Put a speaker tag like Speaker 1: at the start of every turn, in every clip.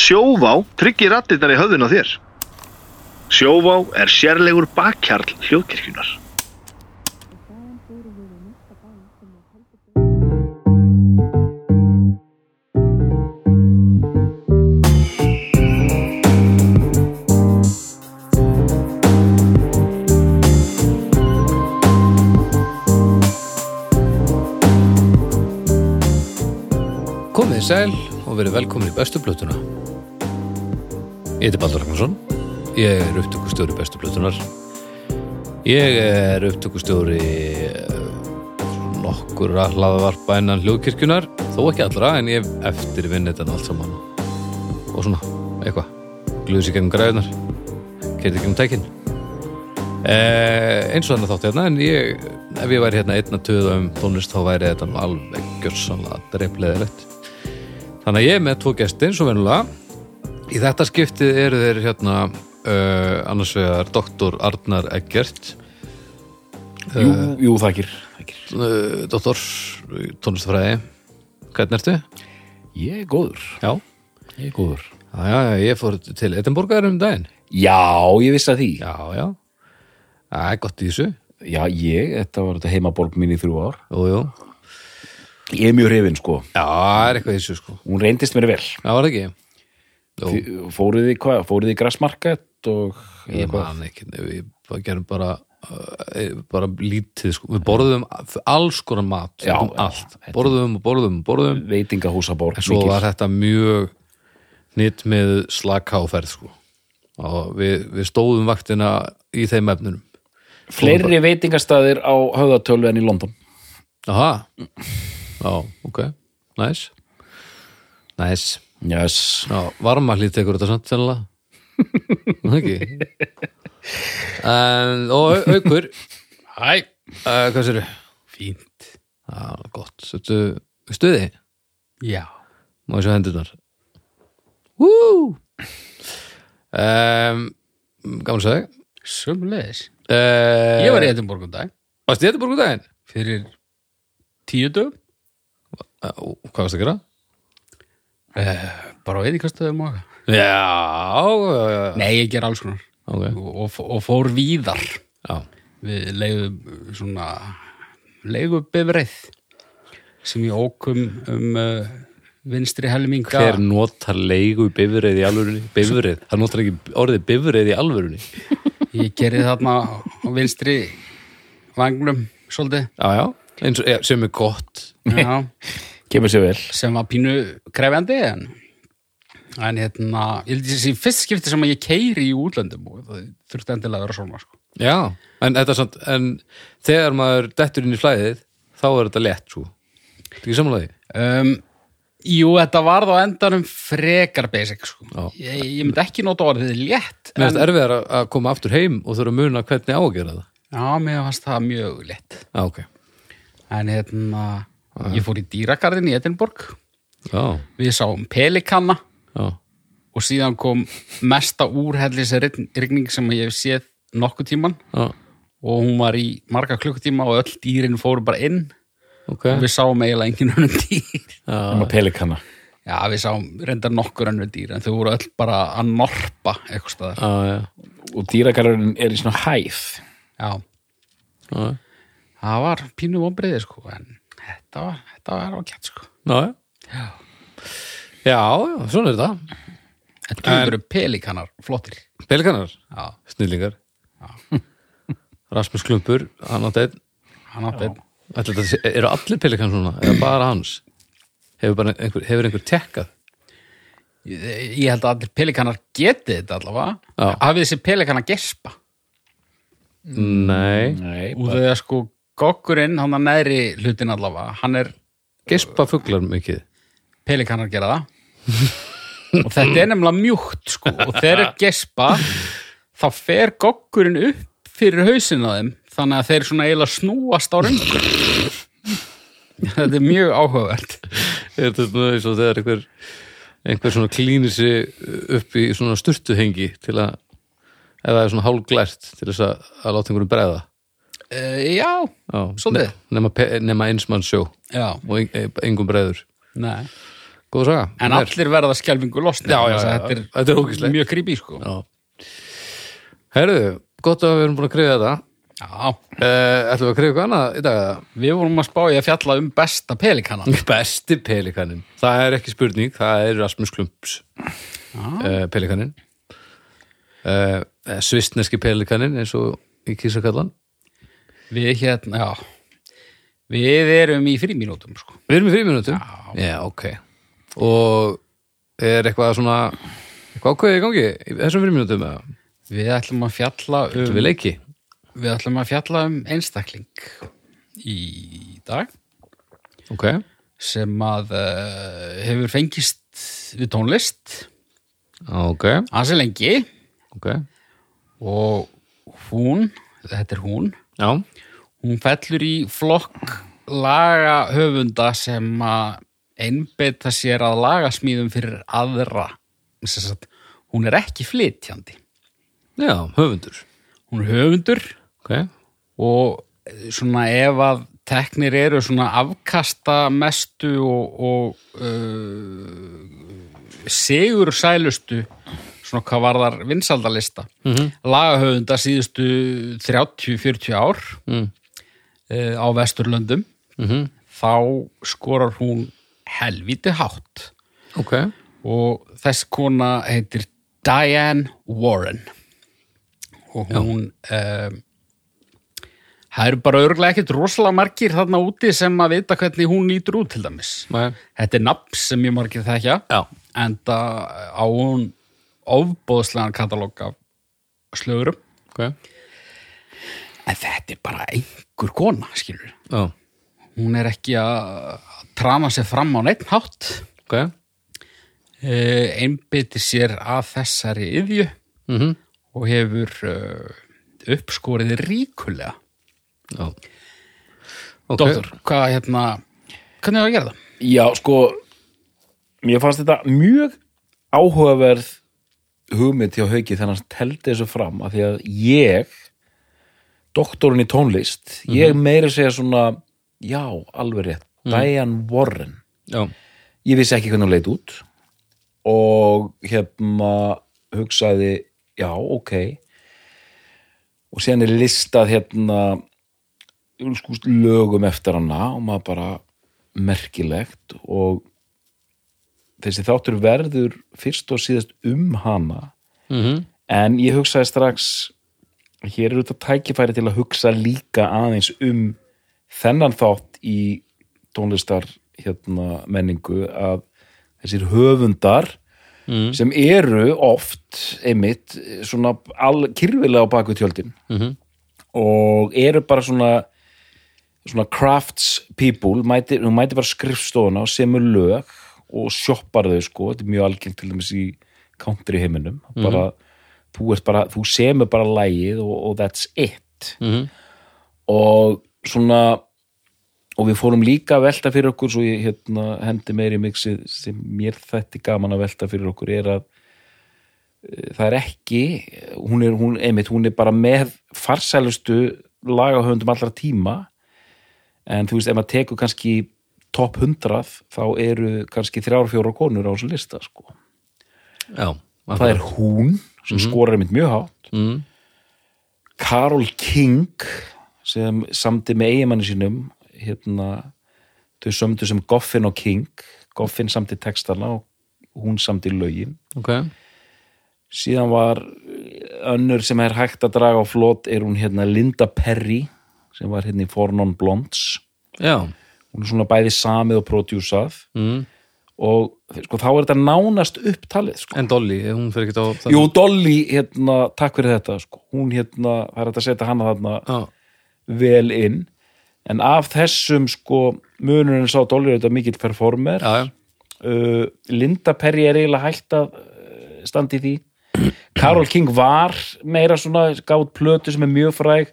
Speaker 1: Sjóvá tryggir rattirnar í höfðun á þér. Sjóvá er sérlegur bakkjarl hljóðkirkjunar.
Speaker 2: Komið þið sæl og verið velkomin í bestu blötuna. Ég heiti Baldur Ragnarsson, ég er upptökustjóri bestu blötunar. Ég er upptökustjóri eh, nokkurra hlaðavarpa innan hljóðkirkjunar, þó ekki allra en ég eftir vinn þetta allt saman. Og svona, eitthvað, glúðis í gegnum græðunar, kerði gegnum tækin. Eh, eins og þannig þátti hérna, en ég, ef ég væri hérna einn að töða um tónlist þá væri þetta nú alveg gjörsanlega dreifleðilegt. Þannig að ég er með tvo gesti eins og venulega Í þetta skiptið eru þeir hérna uh, annars vegar doktor Arnar Eggert
Speaker 3: Jú, jú þakir, þakir.
Speaker 2: uh, doktor tónlistafræði Hvernig ertu?
Speaker 3: Ég er góður,
Speaker 2: Já
Speaker 3: ég er góður
Speaker 2: Já, já, já, ég fór til Edinborgar um daginn
Speaker 3: Já, ég vissi að því Já,
Speaker 2: Já, já Það er gott í þessu
Speaker 3: ég, þetta var þetta heimaborg mín í þrjú ár
Speaker 2: Jú, jú
Speaker 3: Ég er mjög hrifin, sko
Speaker 2: Já, það er eitthvað í þessu sko
Speaker 3: Hún reyndist mér vel
Speaker 2: Já, var það ekki? Jú,
Speaker 3: Þi- Fóruð þið hvað? Fóruð þið í grassmarkett og hérna, eða
Speaker 2: ég
Speaker 3: hvað?
Speaker 2: man ekki Við bara gerum bara uh, bara lítið sko Við borðum alls konar mat
Speaker 3: Já,
Speaker 2: stundum
Speaker 3: já,
Speaker 2: allt Borðum og borðum og borðum
Speaker 3: Veitingahúsaborg
Speaker 2: en svo
Speaker 3: mikil.
Speaker 2: var þetta mjög nýtt með slagkáferð sko. og við, við stóðum vaktina í þeim efnunum
Speaker 3: Fleiri veitingastæðir á höfðatölu en í London
Speaker 2: aha já, ok, næs næs,
Speaker 3: Yes,
Speaker 2: já, varmahlið tekur þetta samt sennilega Það ekki en, og au- aukur hæ, uh, hvað sér
Speaker 4: Fínt.
Speaker 2: já, gott, þetta stuði
Speaker 4: Já.
Speaker 2: Má ég sjá hendurnar Woo um, Gaman að segja
Speaker 4: Sumleis.
Speaker 2: uh,
Speaker 4: Ég var í Edinborg um dag
Speaker 2: Varst í Edinborg um daginn?
Speaker 4: fyrir tíu dögum.
Speaker 2: Uh, hvað varst að gera?
Speaker 4: Uh, bara á veitingastöðum og eitthvað.
Speaker 2: Já, já, já, já.
Speaker 4: Nei, ég ger alls konar.
Speaker 2: Ok,
Speaker 4: Og, og, og fór víðar.
Speaker 2: já.
Speaker 4: Við leiðum svona leigubifreið sem ég ók um, um uh, vinstri helminga.
Speaker 2: Hver notar leigu bifrið í alvörunni? Bifrið, það notar ekki orðið bifrið í alvörunni
Speaker 4: Ég gerði þarna á vinstri vanglum svolítið.
Speaker 2: Já, já, eins og, ja, sem er gott
Speaker 4: Já.
Speaker 3: kemur sér vel
Speaker 4: sem var pínu krefjandi en, en hérna ég held þessi fyrst skipti sem að ég keiri í útlöndum og það þurfti endilega að vera svona sko.
Speaker 2: Já, en þetta er samt En þegar maður dettur inn í flæðið þá er þetta lett svo Þetta ekki samanlega
Speaker 4: um, Jú, þetta var þá endanum frekar basic sko.
Speaker 2: Já.
Speaker 4: ég, ég myndi ekki nota orðið létt
Speaker 2: Mér finnst erfiðar að koma aftur heim og þurfa að muna hvernig á að gera það
Speaker 4: Já, mér fannst það mjög létt
Speaker 2: Já, ok
Speaker 4: en hérna, ég fór í dýragarðin í Edinborg
Speaker 2: Já,
Speaker 4: við sáum pelikanna
Speaker 2: já,
Speaker 4: og síðan kom mesta úrhellis rigning sem ég hef séð nokkuð tíman
Speaker 2: já,
Speaker 4: og hún var í marga klukkutíma og öll dýrin fóru bara inn
Speaker 2: ok
Speaker 4: og við sáum eiginlega engin önnum dýr
Speaker 3: um að pelikana
Speaker 4: já við sáum reyndar nokkur önnum dýr en þau voru öll bara að norpa eitthvað staðar
Speaker 2: Já, já,
Speaker 3: og dýragarurinn er í svona hæð
Speaker 4: já,
Speaker 2: já, já,
Speaker 4: það var pínu vonbriði sko en þetta var, þetta var ágætt sko
Speaker 2: já
Speaker 4: já,
Speaker 2: Já, já, svona er þetta
Speaker 4: en þú eru pelikanar flottir
Speaker 2: Pelikanar,
Speaker 4: já,
Speaker 2: snillingar Rasmus Klumpur, hann átti einn
Speaker 4: hann átti einn.
Speaker 2: Ætli þetta sé- Eru allir pelikan svona, eða bara hans? Hefur, bara einhver, hefur einhver tekkað?
Speaker 4: ég, ég held að allir pelikanar geti þetta allavega
Speaker 2: Já.
Speaker 4: hafið þessi pelikanar gespa
Speaker 2: Nei
Speaker 3: Nei,
Speaker 4: og þau er sko gokkurinn, hann að neðri hlutin allavega hann er
Speaker 2: Gespa fuglar mikið
Speaker 4: pelikanar gera það og þetta er nefnilega mjúkt sko og þegar þeir gespa þá fer gogkurinn upp fyrir hausin á þeim þannig að þeir svona eiginlega snúast á röngur þetta er mjög áhugavert
Speaker 2: Er þetta svona eins og þegar einhver einhver svona klínir sig upp í svona sturtuhengi til að ef það er svona hálglært til þess að, að láta einhverjum bregða
Speaker 4: uh, já,
Speaker 2: Já,
Speaker 4: Svolítið.
Speaker 2: ne- nema, pe- nema eins mann sjó
Speaker 4: já,
Speaker 2: og ein- engum bregður
Speaker 4: nei
Speaker 2: góð saga
Speaker 4: En
Speaker 2: Hún er.
Speaker 4: allir verða skjálfingu losni
Speaker 2: Já, já,
Speaker 4: þess
Speaker 2: já,
Speaker 4: að Þetta er,
Speaker 2: þetta er ógeðslegt.
Speaker 4: Mjög creepy sko Já,
Speaker 2: Já. Herðu, gott að við erum búin að kriða þetta Uh, ætlum við að kriða eitthvað annað í dag eða?
Speaker 4: við vorum að spá í að fjalla um besta pelikana
Speaker 2: Besti pelikanin Það er ekki spurning, það er Rasmus Klumps uh, pelikanin uh, Svistneski pelikanin eins og í kísakallan
Speaker 4: Við hérna, já Við erum í frímínútum sko
Speaker 2: Við erum í fríminutum Já, ok Og er eitthvað svona eitthvað ákveðið í gangi í þessum fríminutum eða?
Speaker 4: Við ætlum að fjalla um
Speaker 2: Ætlum við leiki?
Speaker 4: Við ætlum að fjalla um einstakling í dag
Speaker 2: Ok,
Speaker 4: sem að uh, hefur fengist við tónlist
Speaker 2: ok,
Speaker 4: ansi lengi
Speaker 2: ok
Speaker 4: og hún, þetta er hún
Speaker 2: Já,
Speaker 4: hún fellur í flokk lagahöfunda sem að einbeita sér að lagasmíðum fyrir aðra Sem sagt, hún er ekki flytjandi
Speaker 2: já, höfundur
Speaker 4: hún er höfundur
Speaker 2: Ok,
Speaker 4: og eh, svona ef að teknir eru svona afkasta mestu og, og uh, sigur sælustu svona hvað varðar vinsaldalista
Speaker 2: Mhm.
Speaker 4: -hmm. lagahöfunda síðustu 30-40 ár
Speaker 2: Mm.
Speaker 4: eh, á Vesturlöndum
Speaker 2: Mhm.
Speaker 4: þá skorar hún helvíti hátt
Speaker 2: ok
Speaker 4: og þess kona heitir Diane Warren og hún um, það eru bara örglega ekkert rosalega margir þarna úti sem að vita hvernig hún nýtur út til dæmis
Speaker 2: Nei.
Speaker 4: þetta er nafn sem mjög margir þekja
Speaker 2: Já,
Speaker 4: en það á hún ofbóðslegan katalóg af slögurum
Speaker 2: ok
Speaker 4: en þetta er bara einhver kona skilur
Speaker 2: Já,
Speaker 4: hún er ekki að trana sér fram á neitt hátt
Speaker 2: ok
Speaker 4: uh, einbyttir sér að þessari yfju
Speaker 2: mm
Speaker 4: og hefur uh, uppskorið ríkulega
Speaker 2: Já Ok,
Speaker 4: Dóttur, hvað hérna hvernig er að gera það?
Speaker 3: Já, sko mér fannst þetta mjög áhugaverð hugmynd hjá Hauki þannig að hann teldi þessu fram af því að ég doktorinn í tónlist ég meira segja svona já, alveg rétt, Diane Warren
Speaker 2: já
Speaker 3: ég vissi ekki hvernig hún leit út og hérna hugsaði, já, ok og síðan er listað hérna sko, lögum eftir hana og maður bara merkilegt og þessi þáttur verður fyrst og síðast um hana
Speaker 2: mm
Speaker 3: en ég hugsaði strax hér eru þetta tækifæri til að hugsa líka aðeins um þennan þátt í tónlistar hérna, menningu að þessir höfundar
Speaker 2: Mm.
Speaker 3: sem eru oft einmitt svona all, kyrfilega á baku tjöldin
Speaker 2: Mhm.
Speaker 3: og eru bara svona svona crafts people mæti, hún mæti bara skrifstofuna og semur lög og shoppar þau sko þetta er mjög algengt til dæmis í country heiminum bara, þú, ert bara, þú semur bara lægið og, og that's it
Speaker 2: Mhm.
Speaker 3: og svona og við fórum líka að velta fyrir okkur svo ég hérna, hendi meiri mixið sem mér þetta gaman að velta fyrir okkur er að eh, það er ekki hún er, hún, einmitt, hún er bara með farsælustu lagahöfundum allra tíma en þú veist, ef maður tekur kannski topp 100 þá eru kannski þrjár fjóra konur á þessu lista sko.
Speaker 2: Já,
Speaker 3: það er hún sem skorar einmitt mjög hátt
Speaker 2: mm.
Speaker 3: Karol King sem samdi með eigimanni sínum hérna þau sömdu sem Goffin og King Goffin samdi textana og hún samdi lögin
Speaker 2: Ok,
Speaker 3: síðan var önnur sem er hægt að draga á flot er hún hérna Linda Perry sem var hérna í For Non Blondes
Speaker 2: já
Speaker 3: hún er svona bæði samið og prodjúsað
Speaker 2: mm.
Speaker 3: og sko, þá er þetta nánast upptalið sko.
Speaker 2: En Dolly, eh, hún fer ekki á
Speaker 3: Jú, Dolly, hérna, takk fyrir þetta sko. hún hérna, það er hægt að setja hana þarna
Speaker 2: Já,
Speaker 3: vel inn en af þessum sko munurinn sá Dolly er þetta mikill performer
Speaker 2: já, já
Speaker 3: uh, Linda Perry er eiginlega hægt að uh, standa í því Karol King var meira svona gátt plötu sem er mjög fræg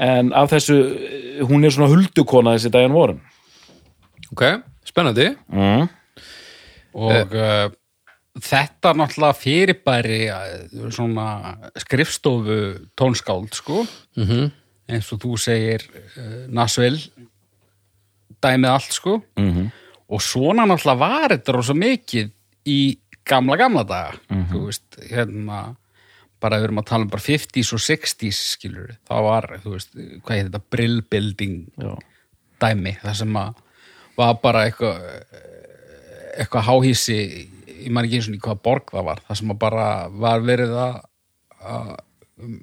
Speaker 3: en af þessu, uh, hún er svona huldukona þessi Diane Warren
Speaker 2: Ok, spennandi
Speaker 3: mm.
Speaker 4: og
Speaker 3: Eh.
Speaker 4: uh, þetta náttúrulega fyrirbæri eh, svona skrifstofu tónskáld sko
Speaker 3: Mhm.
Speaker 2: -hmm.
Speaker 4: eins og þú segir uh, Nasvill eh, dæmið allt sko
Speaker 3: Mhm.
Speaker 4: og svona náttúrulega var þetta rosa mikið í gamla gamla daga
Speaker 3: Mhm.
Speaker 4: þú veist, hérna bara við erum að tala um bara 50s og 60s skilur, það var, þú veist hvað heit þetta, brill building
Speaker 3: Já.
Speaker 4: dæmi, það sem að var bara eitthvað eitthvað háhísi ég maður ekki eins og í hvaða borg það var það sem að bara var verið að, að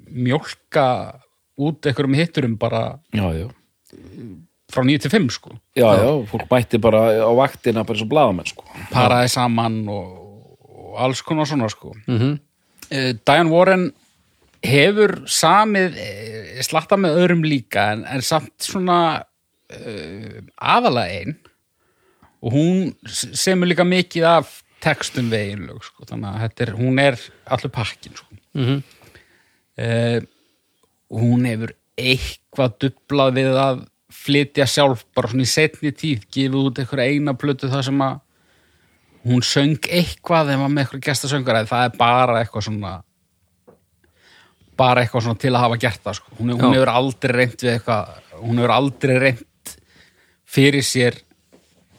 Speaker 4: mjólka út einhverjum hitturum bara
Speaker 3: já, já,
Speaker 4: frá 9 til 5 sko
Speaker 3: já, já, fólk mætti bara á vaktina bara eins og blaðamenn sko
Speaker 4: paraði saman og, og alls konar svona sko mm -hmm. Diane Warren hefur samið eh, slatta með öðrum líka en, en samt svona uh, aðalega ein og hún s- semur líka mikið af textum við einlög sko. þannig að þetta er, hún er allur pakkin sko. mm hún hefur eitthvað dublað við að flytja sjálf bara svona í setni tíð gefið út einhverja eina plötu það sem að hún söng eitthvað þegar maður með eitthvað gestasöngur en það er bara eitthvað svona bara eitthvað svona til að hafa gert það sko. hún, hún
Speaker 2: Já.
Speaker 4: hefur aldrei reynt við eitthvað hún hefur aldrei reynt fyrir sér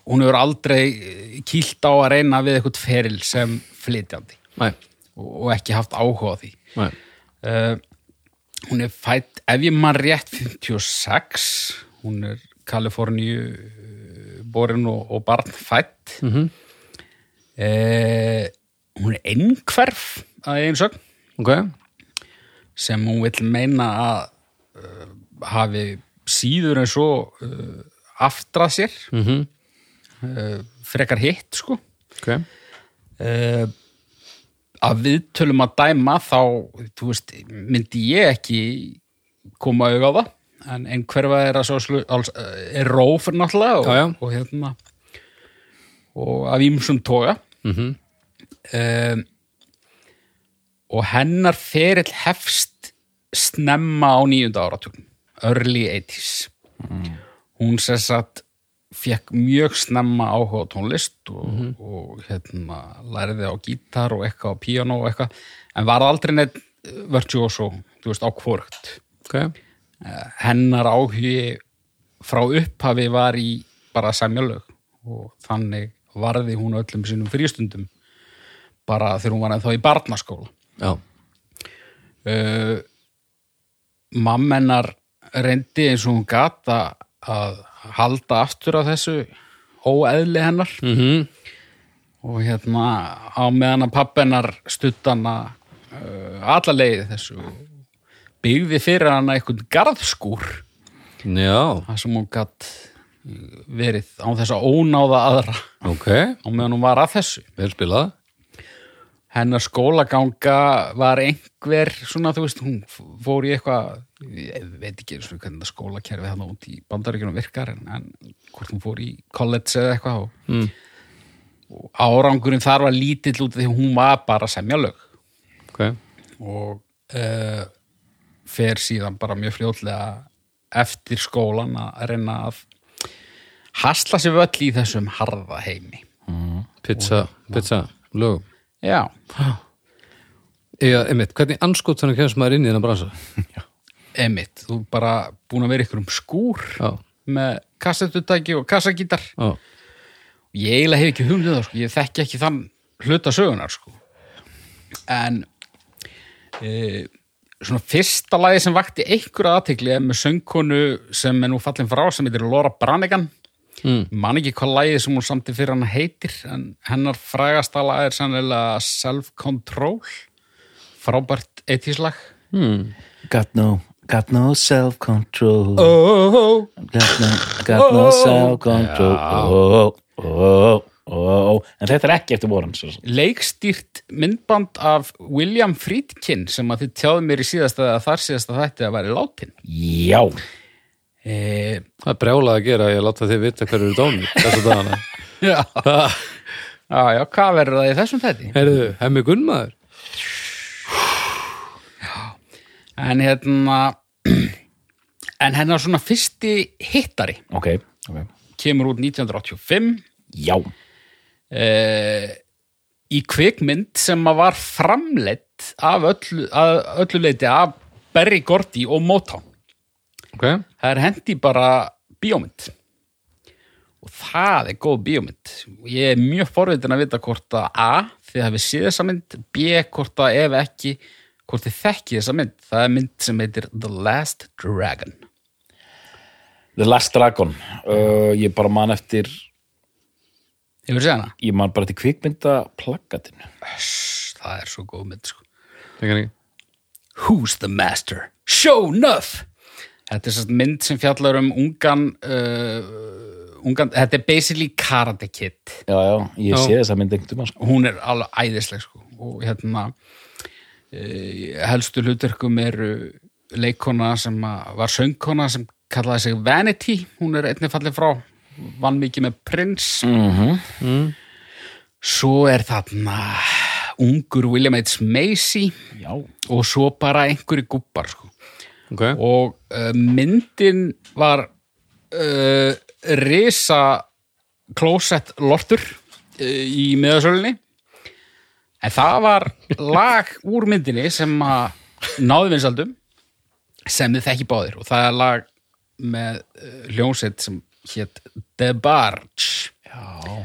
Speaker 4: hún hefur aldrei kýlt á að reyna við eitthvað feril sem flytjandi
Speaker 2: Nei,
Speaker 4: og, og ekki haft áhuga á því
Speaker 2: nei.
Speaker 4: uh, hún er fætt ef ég mann rétt 56 hún er Kaliforníu uh, borin og, og barn fætt mm -hmm. hún er einhverf að einu sögn
Speaker 2: Ok,
Speaker 4: sem hún vill meina að uh, hafi síður en svo uh, aftrað sér mm -hmm. uh, frekar hitt sko
Speaker 2: ok.
Speaker 4: uh, að við tölum að dæma þá, þú veist, myndi ég ekki koma auðvitað á það en, en hverfa er að svo slu, alls, eh, er róf náttúrulega og,
Speaker 2: Já, já.
Speaker 4: og hérna og af ímsum toga mm
Speaker 2: Mhm.
Speaker 4: og hennar ferill hefst snemma á nýjunda áratugum early 80s hún sem sagt fekk mjög snemma áhuga á tónlist og, og hérna læriði á gítar og eitthvað á píano og eitthvað, en var aldrei neitt virtuoso, þú veist, á hvort
Speaker 2: Ok,
Speaker 4: hennar áhugi frá upphafi var í bara að semja lög og þannig varði hún öllum sínum frístundum bara þegar hún var ennþá í barnaskóla
Speaker 2: já.
Speaker 4: uh, mammennar reyndi eins og hún gata að halda aftur af þessu óeðli hennar
Speaker 2: Mm -hmm.
Speaker 4: og hérna á meðan að pappennar stuttana uh, alla leiði þessu byggði fyrir hana einhvern garðskúr
Speaker 2: Já,
Speaker 4: þar sem hún gatt verið á þess að ónáða aðra
Speaker 2: ok.
Speaker 4: á meðan hún var að þessu
Speaker 2: Vel spilað.
Speaker 4: hennar skólaganga var einhver svona, þú veist, hún f- fór í eitthvað, ég veit ekki eins og hvernig það skólakerfi þannig út í bandaríkjunum virkar en, en hvort hún fór í college eða eitthvað og, mm. og árangurinn þar var lítill út af því að hún var bara að semja lög
Speaker 2: Ok,
Speaker 4: og uh, fer síðan bara mjög fljótlega eftir skólan að reyna að hasla sér völl í þessum harða heimi.
Speaker 2: pizza, pizza, lögum.
Speaker 4: Já,
Speaker 2: Já, einmitt, hvernig anskotanum kemst maður inn í þennan bransa?
Speaker 4: emitt, þú er bara búin að vera ykkur um skúr
Speaker 2: Já,
Speaker 4: með kassettutæki og kassagítar
Speaker 2: já.
Speaker 4: ég eiginlega hef ekki hugmyndið það sko. ég þekki ekki þann hluta sögunar sko. en e, svona fyrsta lagi sem vakti einhverja aðtekli er með söngkonu sem er nú fallin frá sem heitir Laura Branigan
Speaker 2: Mm.
Speaker 4: man ekki hvað lagið sem hún samti fyrir hann heitir en hennar frægasta lag er sannilega Self Control frábært eittíslag
Speaker 2: Hmm.
Speaker 3: Got no, got no self-control
Speaker 4: oh.
Speaker 3: Got no, got no self-control oh, oh, oh, oh. En þetta er ekki eftir voran svo. sem.
Speaker 4: leikstýrt myndband af William Friedkin sem að þið tjáðu mér í síðasta eða þar síðasta þætti að væri látin
Speaker 3: Já
Speaker 4: e,
Speaker 2: Það er brjálað að gera, að ég láta þið vita hverju eru dánir þessu dagana.
Speaker 4: já. já, já, hvað verður það í þessum þætti?
Speaker 2: Herðu, hemmi Gunnmaður?
Speaker 4: En hérna en hennar svona fyrsti hittari
Speaker 3: Ok, ok
Speaker 4: kemur út 1985
Speaker 3: Já
Speaker 4: e, í kvikmynd sem að var framleitt af öllu, að öllu leiti af Berry Gordy og Motown
Speaker 2: Ok,
Speaker 4: það er hendi bara bíómynd og það er góð bíómynd ég er mjög forvitin að vita hvort að A þið hafið séð þessa mynd B hvort að ef ekki hvort þið þekki þessa mynd það er mynd sem heitir The Last Dragon
Speaker 3: The Last Dragon uh, ég bara man eftir
Speaker 4: hefur séð hana?
Speaker 3: ég man bara eftir kvikmynda plakatinu
Speaker 4: Pss, það er svo góð mynd sko.
Speaker 2: Tengar ekki?
Speaker 4: Who's the Master? Show enough þetta er sérst mynd sem fjallar um ungan uh, ungan, þetta er basically Karate Kid
Speaker 3: já, já, ég sé þessa mynd einhvern tímann sko.
Speaker 4: hún er alveg æðisleg sko. og hérna eh, helstu hlutverkum eru leikona sem að- var söngkona sem kallaði sig Vanity hún er einnig fallið frá vann mikið með prins mm svo er þarna ungur William H. Macy
Speaker 3: já,
Speaker 4: og svo bara einhverju gubbar sko
Speaker 2: Ok.
Speaker 4: og uh, myndin var uh, risa klósett lortur uh, í miðasölinni en það var lag úr myndinni sem að náði vinsaldum sem þið þekki báðir og það er lag með uh, hljónsett sem hétt Debarge Já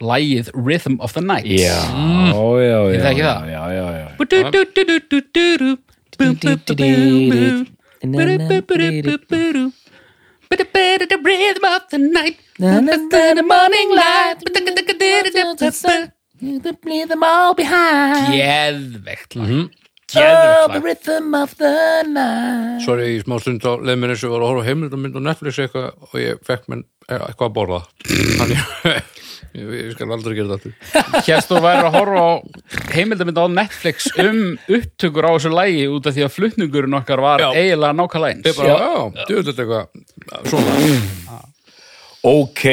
Speaker 4: Lagið Rhythm of the Night
Speaker 3: já, já, já,
Speaker 4: Ég þekki
Speaker 3: já,
Speaker 4: það.
Speaker 3: já, já, já.
Speaker 4: But the better the rhythm of the night, the morning light. Geðvegt lag. Geðvegt lag.
Speaker 2: Sorry, í smá stund á leið mér eins og ég var að horfa heimild og mynd á Netflix eitthvað og ég fekk mér eitthvað að borða Þannig ég, ég skal aldrei gera þetta aftur
Speaker 4: Hérst þú væri að horfa á heimildamönda á Netflix um upptökur á þessu lagi út af því að flutningurinn okkar var
Speaker 2: Já.
Speaker 4: eiginlega nákvæmlega
Speaker 2: Ég
Speaker 4: eins.
Speaker 2: bara, já, þú veit eitthvað Svona,
Speaker 3: ok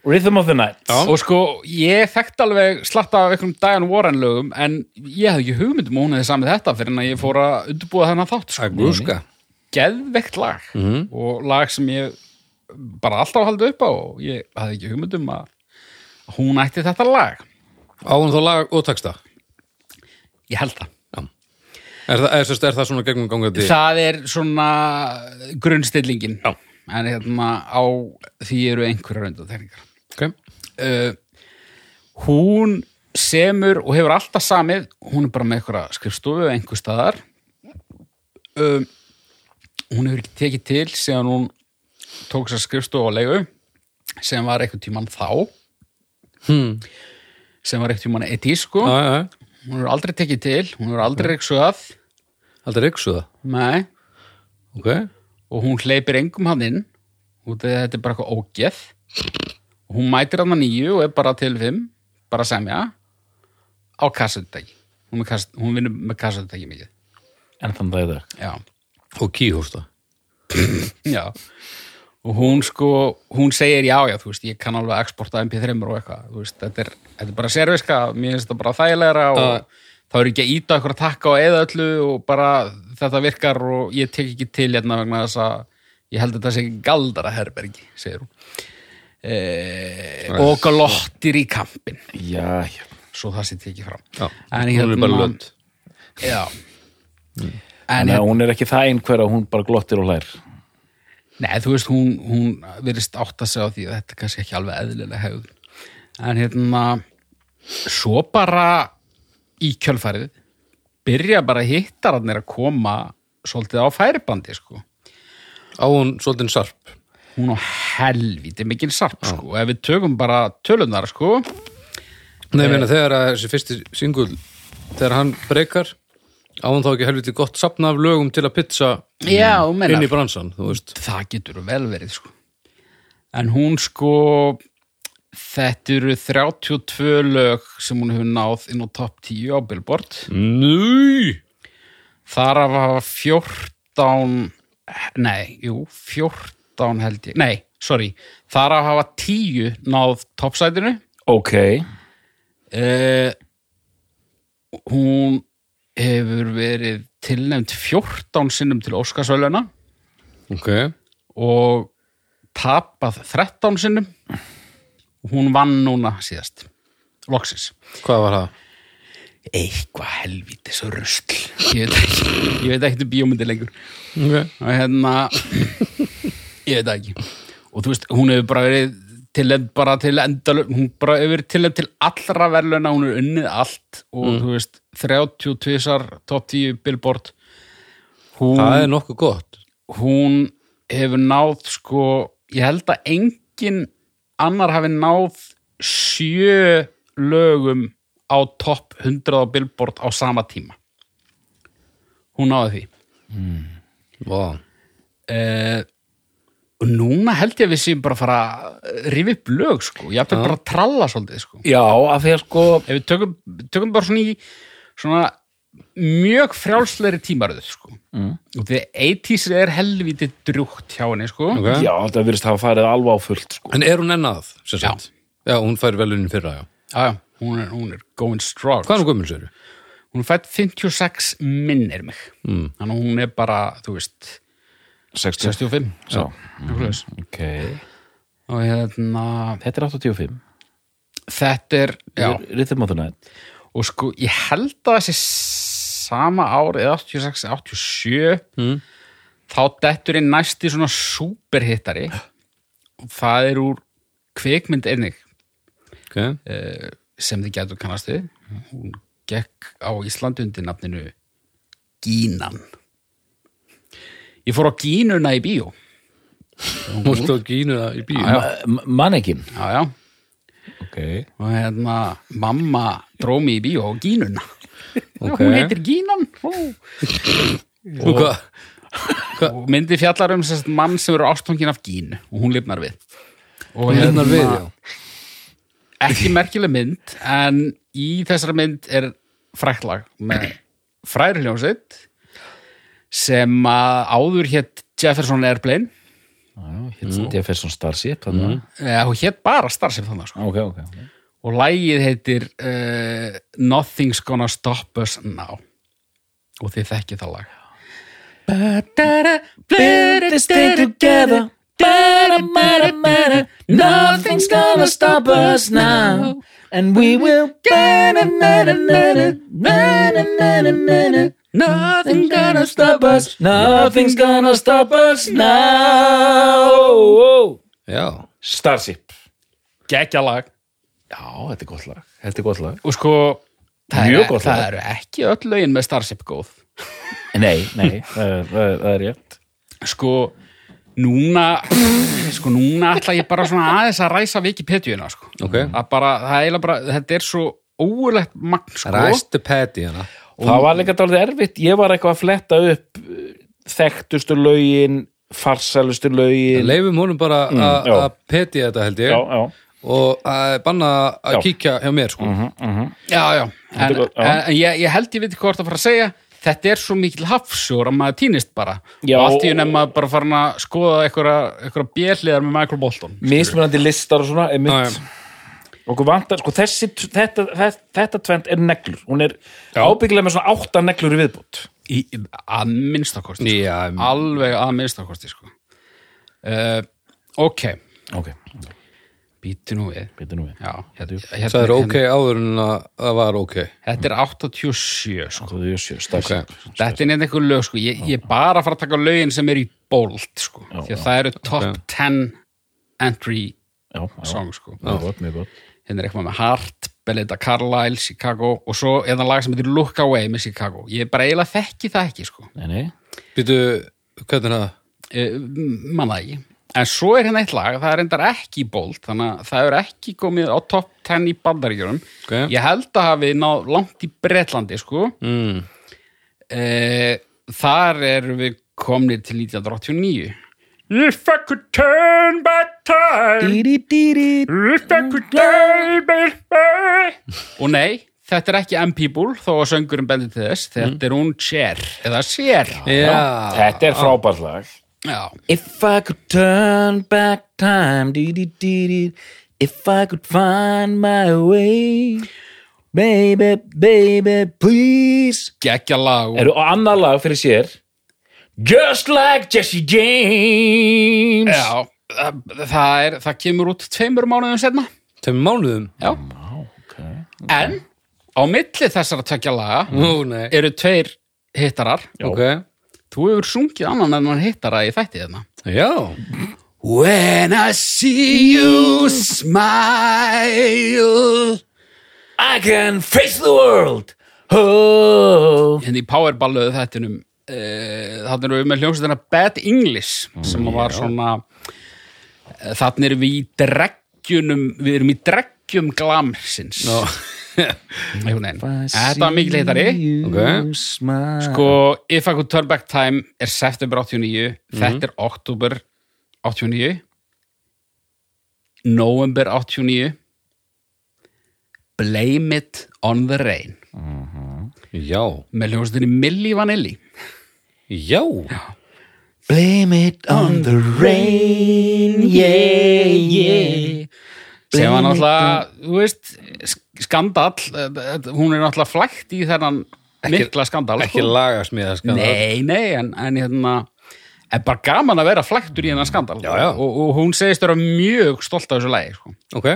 Speaker 3: Rhythm of the Night
Speaker 2: Já.
Speaker 4: Og sko, ég þekkt alveg slatta af einhverjum Diane Warren lögum en ég hafði ekki hugmyndum hún eða samið þetta fyrir en að ég fór að undurbúa þennan þátt sko.
Speaker 2: að glúska
Speaker 4: geðvegt lag og lag sem ég bara alltaf haldið upp á og ég hafði ekki hugmyndum að að hún ætti þetta lag
Speaker 2: Á hún þá lag og texta
Speaker 4: ég held það
Speaker 2: Er, það- er, sérst, er það svona gegnum gangandi
Speaker 4: það er svona grunnstillingin Já. en hérna á því eru einhverjar undantekningar
Speaker 2: okay.
Speaker 4: uh, hún semur og hefur alltaf samið hún er bara með einhverja skrifstofu einhver staðar uh, hún hefur ekki tekið til síðan hún tók sér skrifstofu á leigu sem var einhvern tímann þá hmm. sem var einhvern tímann etí sko
Speaker 2: já, já, já.
Speaker 4: hún hefur aldrei tekið til, hún hefur aldrei reyksuðað
Speaker 2: Aldrei yksu það
Speaker 4: nei,
Speaker 2: okay.
Speaker 4: og hún hleypir engum hann inn út af því að þetta er bara eitthvað ógeð og hún mætir hann að nýju og er bara til fimm, bara að semja á kassutæki hún, er kass, hún vinnur með kassutæki mikið
Speaker 3: en þann dag í dag
Speaker 4: já,
Speaker 2: Og kíhústa
Speaker 4: já og hún sko, hún segir já, já, þú veist ég kann alveg að exporta MP3 og eitthvað þú veist, þetta er, þetta er bara serviska mér finnst þetta bara þægilegra og
Speaker 2: Það-
Speaker 4: þá er ekki að íta okkur að takka og eða öllu og bara þetta virkar og ég tek ekki til hérna vegna þess að ég held að þetta sé ekki galdara herbergi, segir hún eh, og galottir í kampin
Speaker 3: já, já,
Speaker 4: svo það sé tekið fram
Speaker 2: Já,
Speaker 4: En
Speaker 2: hún er
Speaker 4: hérna-
Speaker 2: bara Mm. lönd
Speaker 4: já
Speaker 3: en
Speaker 4: en
Speaker 3: hérna. hún er ekki það einhver að hún bara glottir og hlær
Speaker 4: Nei, þú veist, hún, hún verist átt að segja á því að þetta er kannski ekki alveg eðlilega hegðun. En hérna, svo bara í kjölfærið, byrja bara hittararnir að koma svolítið á færibandi, sko.
Speaker 2: Á hún svolítið sarp
Speaker 4: Hún á helviti mikinn sarp, sko. Ef við tökum bara tölunar, sko,
Speaker 2: Nei, ég meina þegar að þessi fyrsti singul þegar hann breykar á hún þá ekki helviti gott sapna af lögum til að pizza
Speaker 4: Já, þú meinar.
Speaker 2: inn í bransan, þú veist
Speaker 4: það getur vel verið, sko. En hún, sko, þetta eru 32 lög sem hún hefur náð inn á topp 10 á Billboard.
Speaker 2: Nú,
Speaker 4: Þar af hafa 14 nei, jú, 14 held ég, nei, sorry þar af hafa 10 náð toppsætinu
Speaker 3: ok,
Speaker 4: eh, hún hefur verið tilnefnd 14 sinnum til Óskarsvöluna
Speaker 2: ok,
Speaker 4: og tapað 13 sinnum hún vann núna síðast loksis
Speaker 2: hvað var það?
Speaker 4: eitthvað helvítið svo rusl ég veit ekki, ég veit ekki um bíómyndi lengur
Speaker 2: Okay.
Speaker 4: og hérna ég veit það ekki og þú veist, hún hefur bara verið tilend bara til endalum hún bara hefur tilend til allra verðluna hún er unnið allt og
Speaker 2: Mm.
Speaker 4: þú veist 32 top 10 billboard hún,
Speaker 2: það er nokkuð gott
Speaker 4: hún hefur náð sko, ég held að engin annar hafi náð sjö lögum á topp 100 á billboard á sama tíma hún náði því
Speaker 2: Vá.
Speaker 4: Eh, og núna held ég að við séum bara að fara að rifi upp lög sko, ég ætla bara að tralla svolítið sko.
Speaker 3: Já, af því að sko
Speaker 4: ef við tökum, tökum bara svona í svona mjög frjálsleiri tímaröð sko. mm. og því 80s er helvítið drjúkt hjá henni sko.
Speaker 2: Ok.
Speaker 3: Já, þetta virðist hafa farið alveg á fullt sko.
Speaker 2: en er hún enn að sem sagt? já, hún fær velunin fyrra já.
Speaker 4: já, já, hún, er, hún er going strong
Speaker 2: hvað er hún gömul sér?
Speaker 4: hún er fætt 56 minnir mig mm. þannig að hún er bara, þú veist
Speaker 3: 60.
Speaker 4: 65
Speaker 3: Já,
Speaker 4: mm.
Speaker 3: ok
Speaker 4: og hérna
Speaker 3: Þetta er 85
Speaker 4: þetta er, já
Speaker 3: Rhythm of the Night
Speaker 4: og sko ég held að þessi sama ár eða 86, 87 mm. þá dettur inn næsti svona superhittari og það er úr kvikmynd einnig
Speaker 2: Okay.
Speaker 4: eh, sem þið getur kannast við hún gekk á Íslandi undir nafninu Gínan ég fór á Gínuna í bíó
Speaker 2: hún stóð gínu það í bíu
Speaker 3: Mannekin
Speaker 4: já já
Speaker 3: okay.
Speaker 4: og hérna mamma dró mig í bíó á Gínuna
Speaker 2: Ok.
Speaker 4: hún heitir Gínan ó
Speaker 2: og hvað?
Speaker 4: og myndi fjallar um sérst mann sem eru ástfangin af gínu og hún lifnar við og hérna
Speaker 2: Hún lifnar Hérna við, já.
Speaker 4: ekki merkileg mynd en í þessari mynd er fræklag með frærljónsitt sem að áður hétt Jefferson Airplane
Speaker 3: Hérna mm. Jefferson Starship mm.
Speaker 4: eh, hún hétt bara starfsef þannig sko.
Speaker 3: Ok, ok
Speaker 4: og lægið heitir uh, Nothing's Gonna Stop Us Now og þið þekkið það lag
Speaker 3: Build this thing together Better, better, better Nothing's gonna stop us now And we will Better, better, better Better, better, better Nothing's gonna stop us Nothing's gonna stop us now
Speaker 2: já,
Speaker 3: Starship
Speaker 4: geggja lag
Speaker 3: Já, þetta er gott lag Þetta er gott lag
Speaker 4: og sko það,
Speaker 3: Mjög
Speaker 4: er,
Speaker 3: gott
Speaker 4: það
Speaker 3: lag.
Speaker 4: eru ekki öll lögin með Starship góð
Speaker 3: Nei, nei, það er- það er það er rétt
Speaker 4: sko núna sko núna ætla ég bara svona aðeins að ræsa Wikipediuna sko
Speaker 2: Ok.
Speaker 4: að bara, það er eiginlega bara, þetta er svo ógulegt magn sko
Speaker 2: ræstu hérna. pæti hana
Speaker 3: Það var líka dálítið erfitt Ég var eitthvað að fletta upp uh, Þekktustu lögin, farsælustu lögin
Speaker 2: leifum honum bara að
Speaker 3: já.
Speaker 2: mm, pæti þetta held ég
Speaker 3: Já, já
Speaker 2: og að banna að
Speaker 3: Já.
Speaker 2: kíkja hjá mér sko.
Speaker 4: Mm-hmm. já, já, en,
Speaker 3: er gott, já.
Speaker 4: en ég, ég held ég veit ekki hvað það fara að segja þetta er svo mikil hafsjór að maður týnist bara
Speaker 3: Já.
Speaker 4: og allt í unum maður bara farin að skoða eitthvað bjelliðar með Michael Bolton
Speaker 3: mismunandi listar og svona
Speaker 2: Já,
Speaker 3: einmitt. okkur vantar, sko þessi þetta, þetta, þetta tvend er neglur hún er ábyggilega með svona átta neglur í viðbútt
Speaker 4: í, að minnstakosti
Speaker 2: Já,
Speaker 4: sko. alveg að minnstakosti sko. uh, ok
Speaker 3: ok,
Speaker 4: býtu nú við
Speaker 3: betur nú við
Speaker 4: Já, hérna,
Speaker 2: það er
Speaker 4: hérna,
Speaker 2: ok áður en að það var ok
Speaker 4: þetta er 87 sko.
Speaker 3: þú veist, starfsæk
Speaker 4: þetta er neitt einhver lög sko. ég, ég er bara að fara að taka lögin sem er í bold sko. því að það eru top 10 entry
Speaker 3: já, já,
Speaker 4: song sko.
Speaker 3: mjög gott, mjög gott
Speaker 4: hérna er eitthvað með Heart, Belinda Carlisle Chicago og svo er það lag sem heitir Look Away með Chicago, ég bara eiginlega þekki það ekki sko.
Speaker 3: nei, nei,
Speaker 2: býtu, hvernig er það?
Speaker 4: Eh, m- manna það ekki en svo er hérna eitt lag, það er endar ekki í bold þannig að það er ekki komið á top 10 í bandaríkjörum
Speaker 2: Ok.
Speaker 4: ég held að hafi náð langt í Bretlandi sko
Speaker 2: Mm.
Speaker 4: eh, þar erum við komnir til 1989 If I could turn back time
Speaker 3: dýri, dýri
Speaker 4: If I could turn back time og nei, þetta er ekki M-People þó að söngurinn bendir til þess þetta er hún Cher, eða Cher
Speaker 2: Mm. já,
Speaker 3: þetta er frábært lag
Speaker 4: Já.
Speaker 3: if I could turn back time dýri, dýri if I could find my way baby, baby, please
Speaker 4: geggja lag
Speaker 3: eru á annað lag fyrir sér Just like Jesse James
Speaker 4: Já, það, það, er, það kemur út tveimur mánuðum senna
Speaker 2: tveim mánuðum
Speaker 4: Já,
Speaker 3: okay.
Speaker 4: en á milli þessara tvekja laga
Speaker 2: nú nei,
Speaker 4: eru tveir hittarar
Speaker 2: ok
Speaker 4: hérna. Þú hefur sungið annan en hann hittara í þætti þarna
Speaker 2: já,
Speaker 4: When I see you smile
Speaker 3: I can face the world oh.
Speaker 4: Hérna í Powerballuðu þættinum uh, Þannig erum við með hljómsveitina Bad English sem var svona eh, Þannig erum við í dreggjunum Við erum í dreggjum glamsins Einhvern veginn Þetta var mikil heitari
Speaker 2: Ok.
Speaker 3: Sko
Speaker 4: Sko, If I Could Turn Back Time er september 89
Speaker 2: Mhm.
Speaker 4: Þetta er oktober 89 November 89 Blame It on the Rain
Speaker 2: Já,
Speaker 4: með hljómsveitinni Milli Vanilli
Speaker 2: já,
Speaker 3: Blame it on the rain Yeah, yeah
Speaker 4: sem var náttúrulega, þú veist sk- skandall, eh, eh, hún er náttúrulega flækt í þennan mikla skandall
Speaker 2: ekki
Speaker 4: sko.
Speaker 2: lagast með að skanda
Speaker 4: Nei, nei, en, en hérna er bara gaman að vera flæktur í hennan skandal
Speaker 2: Já, já.
Speaker 4: Og, og hún segist vera mjög stolt af þessu lagi sko.
Speaker 2: Ok,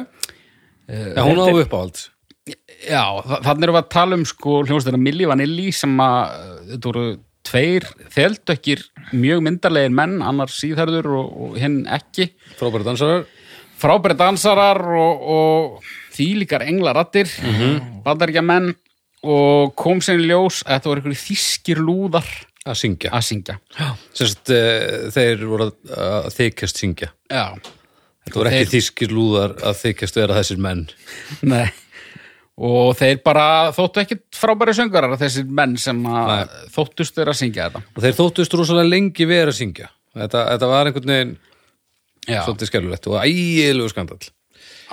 Speaker 2: já, hún á uppáhald
Speaker 4: Já, þa- þannig erum við að tala um sko hljómsveitana Milli Vanilli sem að eh, þetta voru tveir þeldökkir mjög myndarlegir menn, annar síðherður og, og hinn ekki
Speaker 2: Frábæri dansarar
Speaker 4: frábæri dansarar og, og þýlíkar englarattir mm menn og kom sér í ljós að þetta voru einhverju þýskir lúðar
Speaker 2: að syngja
Speaker 4: að syngja
Speaker 2: Sérst, uh, þeir voru að, að þykjast syngja
Speaker 4: Já,
Speaker 2: Þetta voru ekki þýskir lúðar að þykjast vera þessir menn
Speaker 4: nei og þeir bara þóttu ekki frábæri söngarar þessir menn sem að
Speaker 2: Nei.
Speaker 4: þóttust þeir að syngja
Speaker 2: og
Speaker 4: þetta
Speaker 2: þeir þóttust rosalega lengi vera að syngja Þetta, þetta var einhvern veginn
Speaker 4: Já,
Speaker 2: svolítið skelfulegt og ægilegu skandall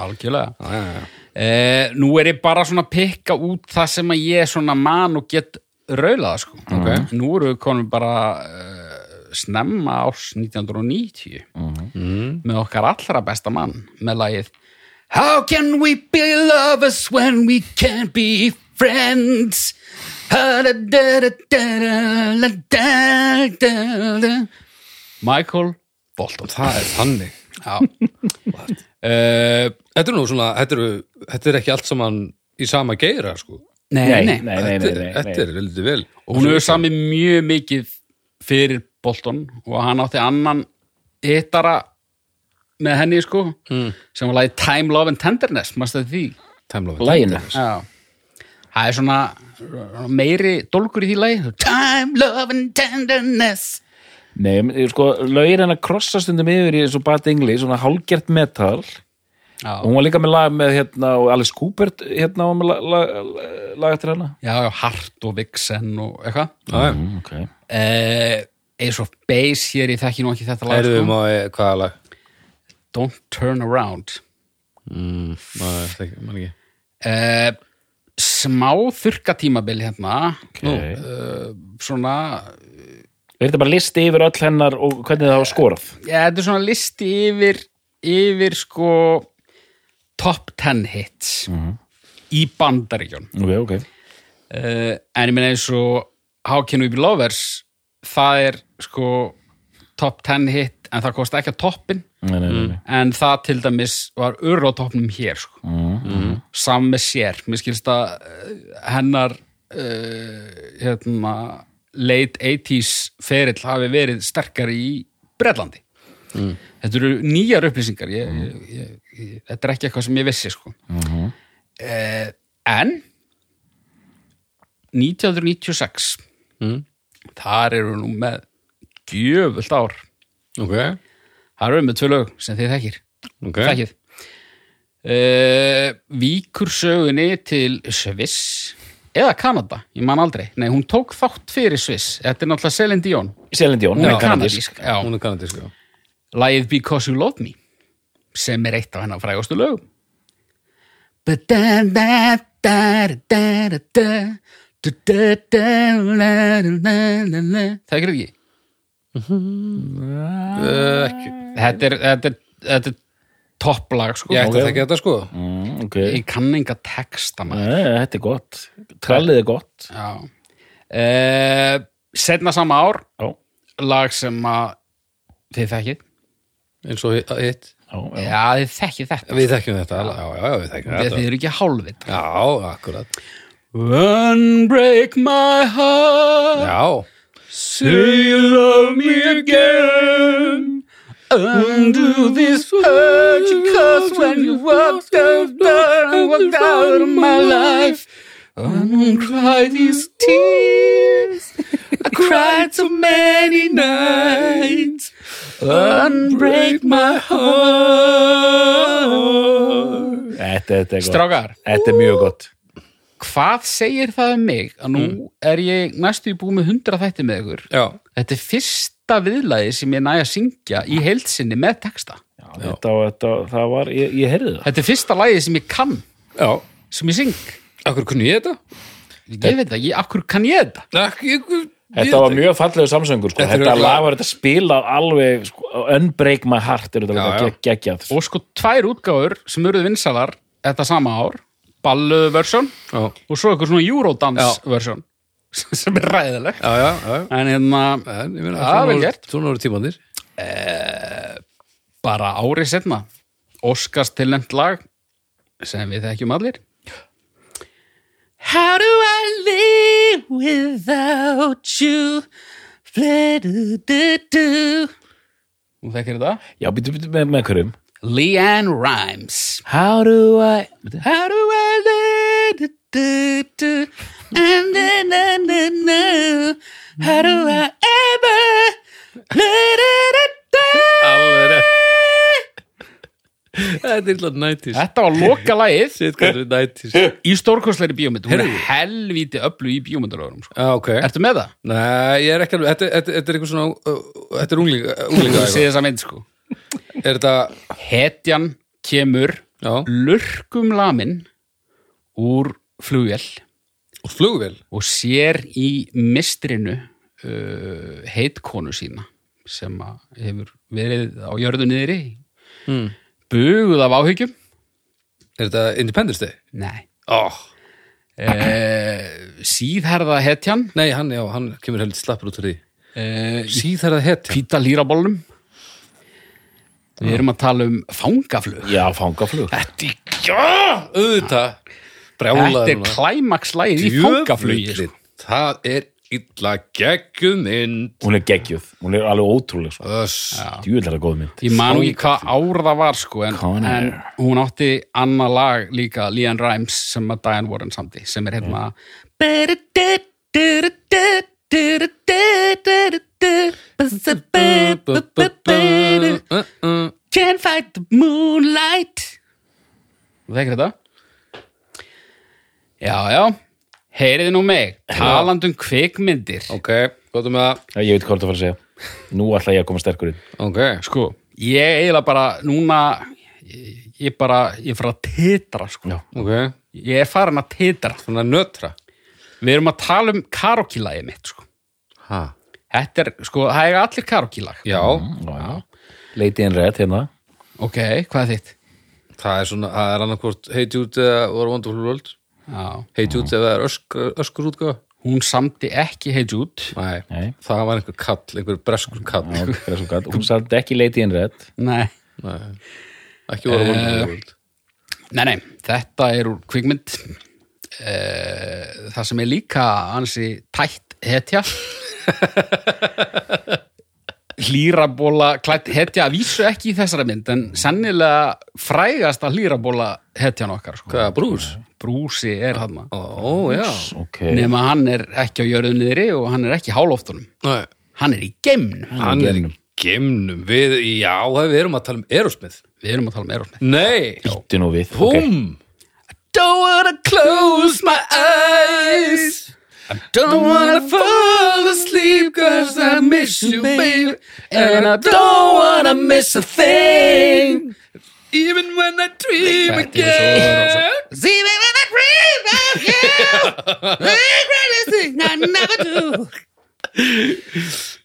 Speaker 4: algjörlega
Speaker 2: Já, já, já.
Speaker 4: Eh, nú er ég bara svona að pikka út það sem að ég er svona man og get raulað sko.
Speaker 2: Ok.
Speaker 4: Nú eru við konum bara uh, snemma árs 1990
Speaker 2: Mhm.
Speaker 4: Mm. með okkar allra besta mann með lagið How can we be lovers when we can't be friends? Ha-da-da-da-da-da-da-da-da-da. Michael Bolton
Speaker 2: Það er þannig
Speaker 4: Já uh,
Speaker 2: Eh, Þetta er nú svona, þetta, eru, þetta er ekki allt saman í sama geira, sko
Speaker 3: Nei,
Speaker 4: Nei,
Speaker 3: nei,
Speaker 4: nei
Speaker 3: nei, nei, nei,
Speaker 2: Þetta-
Speaker 3: nei,
Speaker 2: Þetta er veldig vel
Speaker 4: og hún hefur samið mjög mikið fyrir Bolton og hann átti annan hittara með henni sko sem var lagið Time, Love and Tenderness mannstu því
Speaker 2: Tæmlofi
Speaker 3: Læginu
Speaker 4: Já. það er svona svona meiri dólgur í því lagi Time, Love and Tenderness
Speaker 3: Nei, men, sko, lögir hennar krossa stundum yfir í eins og Bad English, svona hálgert metal
Speaker 4: já,
Speaker 3: og hún var líka með lag með hérna og Alice Cooper hérna var með lag, lag, lag, lag eftir hana
Speaker 4: já, já Hart og Vixen og eitthvað
Speaker 2: Læginu
Speaker 3: mm, okay.
Speaker 4: uh, eins og Bass hér, ég þekki nú ekki þetta lag sko.
Speaker 2: Erðum á hvaða lag?
Speaker 4: Don't Turn Around
Speaker 2: Mm, maður, það ekki, maður ekki
Speaker 4: uh, smá þurkatímabil hérna
Speaker 3: okay.
Speaker 4: svona
Speaker 3: Er þetta bara listi yfir öll hennar og hvernig það var skorað?
Speaker 4: Já, þetta er svona listi yfir yfir sko top 10 hits í bandaríkjón
Speaker 3: Ok, ok
Speaker 4: uh, en ég meina eins og How Can We Be Lovers það er sko top 10 hit en það kosti ekki að toppin
Speaker 3: Nei, nei, nei, nei.
Speaker 4: en það til dæmis var öru á toppnum hér sko. sam með sér mér skilst að eh, hennar uh, hérna late 80s ferill hafi verið sterkari í Bretlandi þetta eru nýjar upplýsingar ég, ég, ég, ég, þetta er ekki eitthvað sem ég vissi sko. Eh, en 1996
Speaker 2: Mm.
Speaker 4: þar eru nú með gjöfult ár
Speaker 2: Ok,
Speaker 4: þar eru með tvö lög sem þið þekkir
Speaker 2: ok
Speaker 4: þekkið uh, Víkur sögunni til Sviss eða Kanada, ég man aldrei Nei, hún tók þátt fyrir Sviss Þetta er náttúrulega Celine Dion
Speaker 3: Selin Dion,
Speaker 4: Hún
Speaker 3: hún
Speaker 4: er
Speaker 3: er kanadísk
Speaker 4: kanadísk já.
Speaker 2: Hún er kanadísk, já
Speaker 4: Lagið Because You Love Me sem er eitt af hennar frægustu lögum But da da da da da da da da da da da da da Þekkir ekki? Eh,
Speaker 2: uh, Ekki,
Speaker 4: Þetta er, þetta er, þetta er topplag sko
Speaker 2: ég ætti að þekki þetta, sko
Speaker 3: mm, Ok,
Speaker 4: Ég kann enga texta maður
Speaker 3: Nei, þetta er gott Trallið er gott
Speaker 4: Já. Uh, setna sama ár,
Speaker 3: Já,
Speaker 4: lag sem að þið þekkið.
Speaker 2: Eins og hi- hitt
Speaker 3: já, já,
Speaker 4: Já, þið þekkið þetta.
Speaker 2: Við þekkjum þetta, já, já, já, við þekkjum
Speaker 4: Þið,
Speaker 2: þetta
Speaker 4: þið eru ekki hálfvit.
Speaker 2: Já, akkurat
Speaker 4: Unbreak my heart
Speaker 2: Já,
Speaker 4: Say you love me again Undo this hurt Because when you walked out I walked out of my life I don't cry these tears I cried so many nights Unbreak my heart
Speaker 3: Þetta, þetta er gott.
Speaker 4: Strákar,
Speaker 3: Þetta er mjög gott.
Speaker 4: hvað segir það um mig að nú er ég næstu í búið með 100 þætti með ykkur
Speaker 2: Já,
Speaker 4: Þetta er fyrsta viðlæði sem ég næ að syngja í heilsinni með texta.
Speaker 3: Já, þetta, þetta, það var, ég, ég heyrði það.
Speaker 4: Þetta er fyrsta lagið sem ég kann,
Speaker 2: já,
Speaker 4: sem ég syng.
Speaker 2: akkur kunni ég þetta?
Speaker 4: Ég veit það, ég, akkur kann ég þetta?
Speaker 2: Ak, ég, ég,
Speaker 3: Þetta var mjög fallegu samsöngur, sko.
Speaker 2: Þetta er
Speaker 3: Þetta
Speaker 2: örugglega-
Speaker 3: lag var þetta spilað alveg, sko, unbreak my heart er þetta
Speaker 2: Já,
Speaker 3: lag
Speaker 2: já.
Speaker 3: geg- geggjað.
Speaker 4: Og sko tvær útgáfur sem eruð vinsalar þetta sama ár, balluðu versjón
Speaker 2: Já,
Speaker 4: og svo eitthvað svona
Speaker 2: Já.
Speaker 4: eurodance versjón sem er ræðileg.
Speaker 2: já, já, já.
Speaker 4: En hérna,
Speaker 2: En, ég meina,
Speaker 4: Það er
Speaker 2: svona
Speaker 4: vel
Speaker 2: voru-
Speaker 4: gert.
Speaker 2: Svona voru tímanir
Speaker 4: bara árið setna, Óskars tilnæmt lag sem við þekkjum allir. How do I live without you? Fle-du-du-du. Nú þekkir þetta?
Speaker 3: Já, býttu, býttu, með, með hverjum?
Speaker 4: Leanne Rhymes.
Speaker 3: How do I...
Speaker 4: How do I live du-du-du? And then I know How do I ever du-du-du-du?
Speaker 2: Alveg rétt Þetta er illa nætis
Speaker 4: Þetta var loka lagið
Speaker 2: Sitt hvað þetta er nætis
Speaker 4: í stórkostleiri bíómynd hún er
Speaker 2: Heyrðu.
Speaker 4: helvíti öllu í bíómyndaröðurum sko.
Speaker 2: Já, ok
Speaker 4: Ertu með það?
Speaker 2: Nei, ég er ekki alveg Þetta, þetta, þetta er eitthvað svona uh, Þetta er unglinga, unglinga
Speaker 4: Þú sé þessa mynd sko
Speaker 2: Er þetta
Speaker 4: Hetjan kemur
Speaker 2: Já
Speaker 4: lurkum lamin úr flugvél
Speaker 2: Og flugvél
Speaker 4: og sér í mistrinu uh, heitkonu sína sem að hefur verið á jörðu niðri
Speaker 2: Mm.
Speaker 4: buguð af áhyggjum
Speaker 2: Er þetta Independence Day?
Speaker 4: Nei
Speaker 2: Oh.
Speaker 4: uh, Síðherða hetjan
Speaker 2: Nei, hann, já, hann kemur heldur slappur út úr því
Speaker 4: uh,
Speaker 2: Síðar að hetja
Speaker 4: Píta lírabólnum Við erum að tala um fangaflug
Speaker 3: Já, fangaflug.
Speaker 2: Þetta er, já, auðvitað Brjálaður
Speaker 4: Þetta er
Speaker 2: núna.
Speaker 4: klæmakslægið í
Speaker 2: Djöfullinn,
Speaker 4: fangaflugi sko.
Speaker 2: Það er illa geggjum mynd
Speaker 3: Hún er geggjuð. Hún er alveg ótrúleg, sko.
Speaker 2: Öss
Speaker 3: Djúvilega góð mynd.
Speaker 4: Ég man nú ekki hvað ár það var sko, en,
Speaker 3: Con Air.
Speaker 4: en hún átti annað lag líka Leanne Rimes sem að Diane Warren samti sem er hérna Can't fight the moonlight Þú þekkir þetta? Já, já Heyriði nú mig, talandum kvikmyndir
Speaker 2: Ok, gott um það
Speaker 3: Já, ég veit hvað þú ert að fara að segja. Nú ætla ég að koma sterkur inn.
Speaker 2: Ok,
Speaker 4: Sko, ég eiginlega bara núna ég, ég bara, ég fara að titra sko.
Speaker 2: ok
Speaker 4: ég er farin að titra
Speaker 2: Svona nötra
Speaker 4: Við erum að tala um karaoke-lagið mitt sko.
Speaker 2: ha.
Speaker 4: Þetta er, sko, það er allir karaoke-lag
Speaker 2: Já,
Speaker 3: Já. Lady in Red hérna.
Speaker 4: Ok, hvað er þitt?
Speaker 2: það er svona, það er annarkvort Hey Jude eða What a Wonderful World
Speaker 4: Já.
Speaker 2: Hey Jude ef það er öskur, öskur útgáfa
Speaker 4: Hún samti ekki Hey Jude
Speaker 2: Nei.
Speaker 3: Nei.
Speaker 2: það var einhver kall, einhver breskur kall
Speaker 3: Já, það er svo gott. Hún satt ekki Lady in Red.
Speaker 4: Nei,
Speaker 2: Nei. Ekki What a
Speaker 4: Eh.
Speaker 2: Wonderful World
Speaker 4: nei, nei þetta er úr kvikmynd Eh, Það sem er líka ansi tætt hetja hlýrabóla klætt hetja, að vísu ekki í þessari mynd en sennilega frægasta hlýrabóla hetjan okkar sko.
Speaker 2: Hvað, brús?
Speaker 4: Brúsi er hann
Speaker 2: Ó, já
Speaker 3: Ok.
Speaker 4: nema hann er ekki á jörðu niðri og hann er ekki í háloftunum
Speaker 2: Nei.
Speaker 4: hann er í geimnum
Speaker 2: Hann er í geimnum Við, já, við erum að tala um Erosmith
Speaker 4: við erum að tala um Erosmith
Speaker 2: Nei,
Speaker 3: Býttu nú við.
Speaker 2: búm
Speaker 3: Ok.
Speaker 4: Don't wanna close my eyes I don't wanna fall asleep Cause I miss you baby And I don't wanna miss a thing
Speaker 2: Even when I dream
Speaker 4: Þetta er svo rosa. See me when I dream of you The greatest thing I never do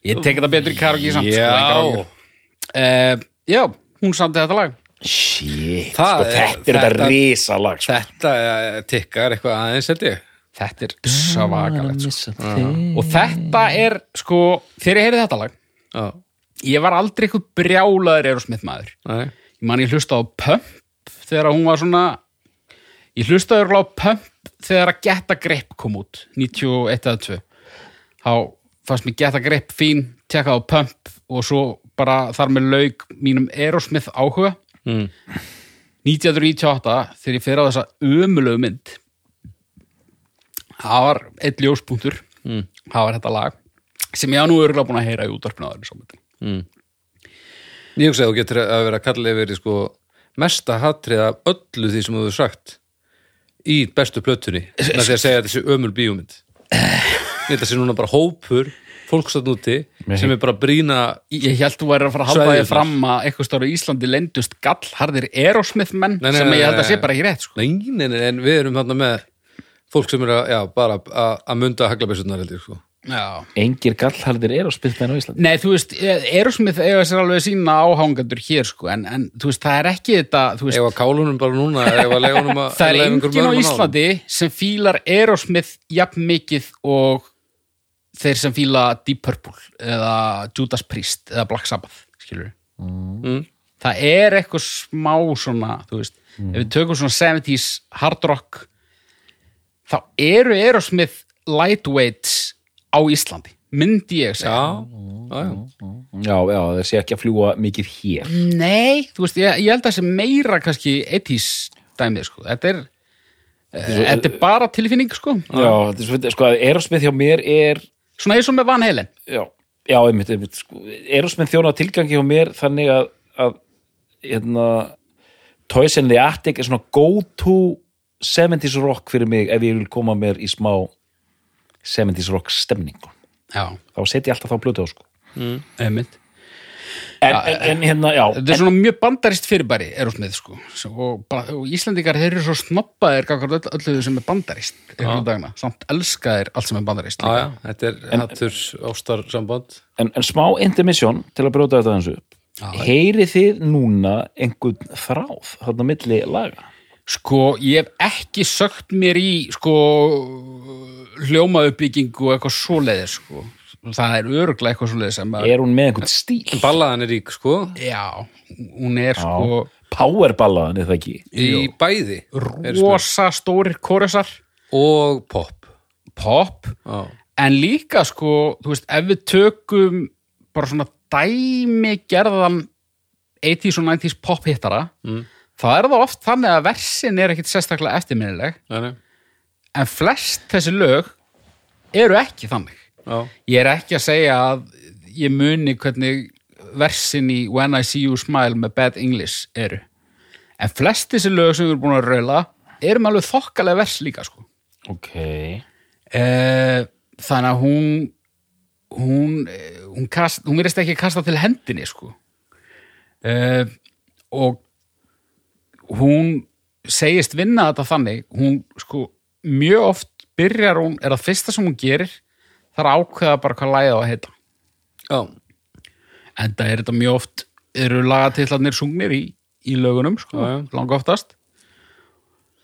Speaker 4: Ég tek þetta betur í karaoke samt sko, í karaoke.
Speaker 2: Já,
Speaker 4: Eh, Já, hún samti þetta lag
Speaker 3: Shit.
Speaker 2: Það
Speaker 3: Sko,
Speaker 2: er-
Speaker 3: þetta er þetta
Speaker 2: þetta-
Speaker 3: risalag, sko.
Speaker 2: þetta eh, tikkar eitthvað aðeins held ég
Speaker 4: Þetta er svakalegt sko. Og þetta er sko Þegar ég heyrði þetta lag
Speaker 2: Já,
Speaker 4: Ég var aldrei eitthvað brjálaður Erosmith maður
Speaker 2: nei,
Speaker 4: Ég man ég hlusta á Pump Þegar hún var svona Ég hlustaði örugglega á Pump Þegar að Geta Grip kom út 91 eða 2 Þá fannst mér Geta Grip fín Tekkaði á Pump Og svo bara þar með lauk mínum Aerosmith áhuga
Speaker 2: Mm.
Speaker 4: 1998 þegar ég fer á þessa ömulegu mynd það var einn ljóspunktur mm. það var þetta lag sem ég á nú örgulega búin að heyra í útvarpinu áður svo myndin
Speaker 2: Ég hugsa að þú getur að vera að kalla yfir í, sko, mesta hatrið af öllu því sem þú hefur sagt í bestu plötunni með því að segja að þessi ömul bíómynd Ég held að sé núna bara hópur fólkstætt úti sem er bara að brýna
Speaker 4: Ég held þú væri að fara að halda
Speaker 2: Svæðirnar.
Speaker 4: þig fram að eitthvað stóra Íslandi lendust gallharðir Aerosmith menn
Speaker 2: Nei, nei,
Speaker 4: sem
Speaker 2: nei,
Speaker 4: ég held
Speaker 2: nei,
Speaker 4: að sé
Speaker 2: nei.
Speaker 4: bara ekki rétt sko.
Speaker 2: Nei, nei, nei, en við erum þarna með fólk sem er að, já, bara að að munda haglabessunar held ég, sko
Speaker 4: Já.
Speaker 3: engir gallharðir er á spiltmenn á Íslandi
Speaker 4: Nei, þú veist, Aerosmith eiga sér alveg sína áhangandur hér sko, en, en þú veist, það er ekki þetta þú veist,
Speaker 2: Ef að kálunum bara núna, ef að leifunum að
Speaker 4: það er
Speaker 2: leyfa einhverjum öðrum að ná
Speaker 4: enginn á
Speaker 2: honum.
Speaker 4: Íslandi sem fílar Aerosmith jafn mikið og þeir sem fíla Deep Purple eða Judas Priest eða Black Sabbath skilur
Speaker 2: Mm.
Speaker 4: það er eitthvað smá svona þú veist,
Speaker 2: Mm.
Speaker 4: ef við tökum svona 70s hard rock þá eru Aerosmith lightweights á Íslandi myndi ég segja Mm.
Speaker 2: Já, já, já
Speaker 3: já, já, þeir sé ekki að fljúa mikið hér
Speaker 4: Nei, þú veist, ég, ég held að það sé meira kannski etís dæmið, sko. Þetta er, eh, þetta er bara tilfinning, sko.
Speaker 3: já, þetta er svo fyndið, sko, Erosmith hjá mér er
Speaker 4: Svona eins og með Van Helen.
Speaker 3: já, já, einmitt, einmitt sko, Erosmith þjóna tilgangi hjá mér þannig að, að hérna Toys in the Attic er svona go to 70s rock fyrir mig ef ég vil koma mér í smá 70s rock stemningu
Speaker 4: Já,
Speaker 3: þá setjum ég alltaf þá blötu á sko
Speaker 4: einmitt.
Speaker 3: en, en, en hérna, já,
Speaker 4: Þetta er svona mjög bandarist fyrirbæri, Erosmith, sko. Svo- Og, bara- og Íslandingar, þeir eru svo snoppaðir gangvart öll, öllu sem er bandarist. Já. Dagana. Samt elskaðir allt sem er bandarist.
Speaker 2: Já,
Speaker 4: líka.
Speaker 2: já, þetta er hattur ástarsamband
Speaker 3: en, en smá intermission til að bróta þetta eins upp heyrið þið núna einhvern þráð þarna milli laga
Speaker 4: Sko, ég hef ekki sögt mér í sko, hljómauppbyggingu og eitthvað svoleiðir, sko. Það er öruglega eitthvað svoleiðir sem að...
Speaker 3: er hún með einhvern stíl
Speaker 2: Ballaðan er rík, sko
Speaker 4: Já, hún er sko...
Speaker 3: powerballaðan er það ekki
Speaker 2: Í bæði eru smá.
Speaker 4: rosa stórir kórusar
Speaker 2: Og pop
Speaker 4: pop,
Speaker 2: Já,
Speaker 4: en líka sko, þú veist, ef við tökum bara svona dæmi gerðan 80s og 90s pop hittara, mm. það er það oft þannig að versin er ekkit sérstaklega eftirminnileg,
Speaker 2: nei, nei,
Speaker 4: en flest þessi lög eru ekki þannig.
Speaker 2: já
Speaker 4: Ég er ekki að segja að ég muni hvernig versin í When I See You Smile með Bad English eru. En flest þessi lög sem við erum búin að raula eru með alveg þokkalega vers líka, sko.
Speaker 3: ok,
Speaker 4: Eh, þannig að hún hún, eh, hún, kast, hún verðist ekki kasta til hendinni sko uh, og hún segist vinna þetta þannig hún sko mjög oft byrjar hún, er það fyrsta sem hún gerir það er að ákveða bara hvað lagið á að heita
Speaker 2: Já,
Speaker 4: en það er þetta mjög oft eru lagatillarnir sungnir í, í lögunum sko,
Speaker 2: Já, já.
Speaker 4: langa oftast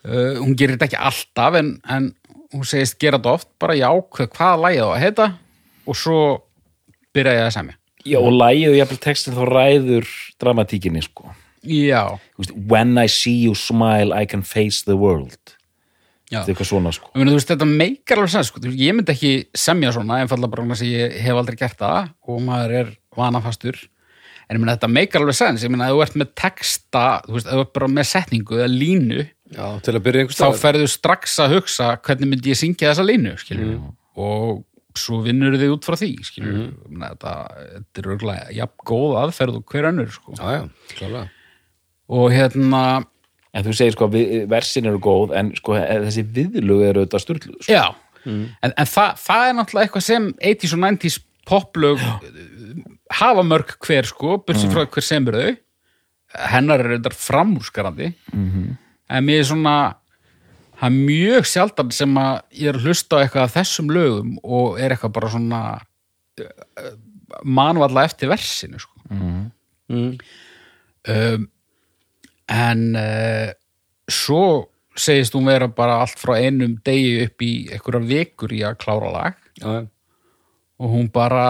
Speaker 4: uh, hún gerir þetta ekki alltaf en, en hún segist gera þetta oft bara já, hvað, hvaða lagið á að heita og svo byrja ég að semja
Speaker 3: já og lagið og jafnvel textin þá ræður dramatíkinni sko
Speaker 4: já,
Speaker 3: Þú veist, when I see you smile I can face the world
Speaker 4: já.
Speaker 3: þetta er eitthvað svona sko
Speaker 4: Meni, veist, þetta meikar alveg sem sko. Þú veist, ég myndi ekki semja svona en falla bara að ég hef aldrei gert það og maður er vanafastur en ég meina þetta meikar alveg sens ég meina að þú ert með texta þú veist, ef þú ert bara með setningu eða línu
Speaker 2: já, til að byrja einhvers
Speaker 4: þá
Speaker 2: staðar.
Speaker 4: ferðu strax að hugsa hvernig myndi ég syngja þessa línu skilur, og svo vinnur þið út frá því skilur, mm. þetta, þetta er örgulega jafn góð aðferð og hver önnur sko.
Speaker 2: Já, já, klálega
Speaker 4: og hérna
Speaker 3: en þú segir sko að við- versin eru góð en sko þessi viðlug eru auðvitað styrlu sko.
Speaker 4: já, en, en það, það er náttúrulega eitthvað sem 80s og 90s poplög hafa mörg hver sko, bursi frá hver semur þau hennar er þetta framúrskarandi en mér er svona það er mjög sjaldan sem að ég er að hlusta á eitthvað af þessum lögum og er eitthvað bara svona manvalla eftir versinu sko. um, en uh, svo segist hún vera bara allt frá einum degi upp í einhverjar vikur í að klára lag
Speaker 2: Já, já,
Speaker 4: og hún bara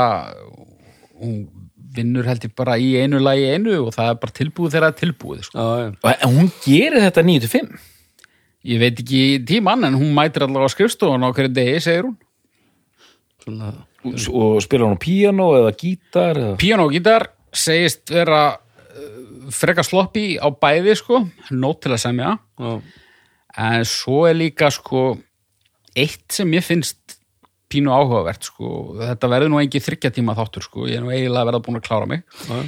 Speaker 4: hún vinnur heldur bara í einu lagi í einu og það er bara tilbúið þegar það er tilbúið sko.
Speaker 2: já, já
Speaker 3: og hún gerir þetta 9-5
Speaker 4: ég veit ekki tímann en hún mætir allavega á skrifstofun á hverju degi segir hún
Speaker 2: Svona,
Speaker 3: og spila hún á píano eða gítar eða...
Speaker 4: píanógítar segist vera eh, frekar sloppi á bæði sko, nót til að semja
Speaker 2: Já.
Speaker 4: en svo er líka sko eitt sem ég finnst pínu áhugavert sko, þetta verður nú engi þryggja tíma þáttur sko, ég er nú eiginlega að verða búin að klára mig
Speaker 2: Já.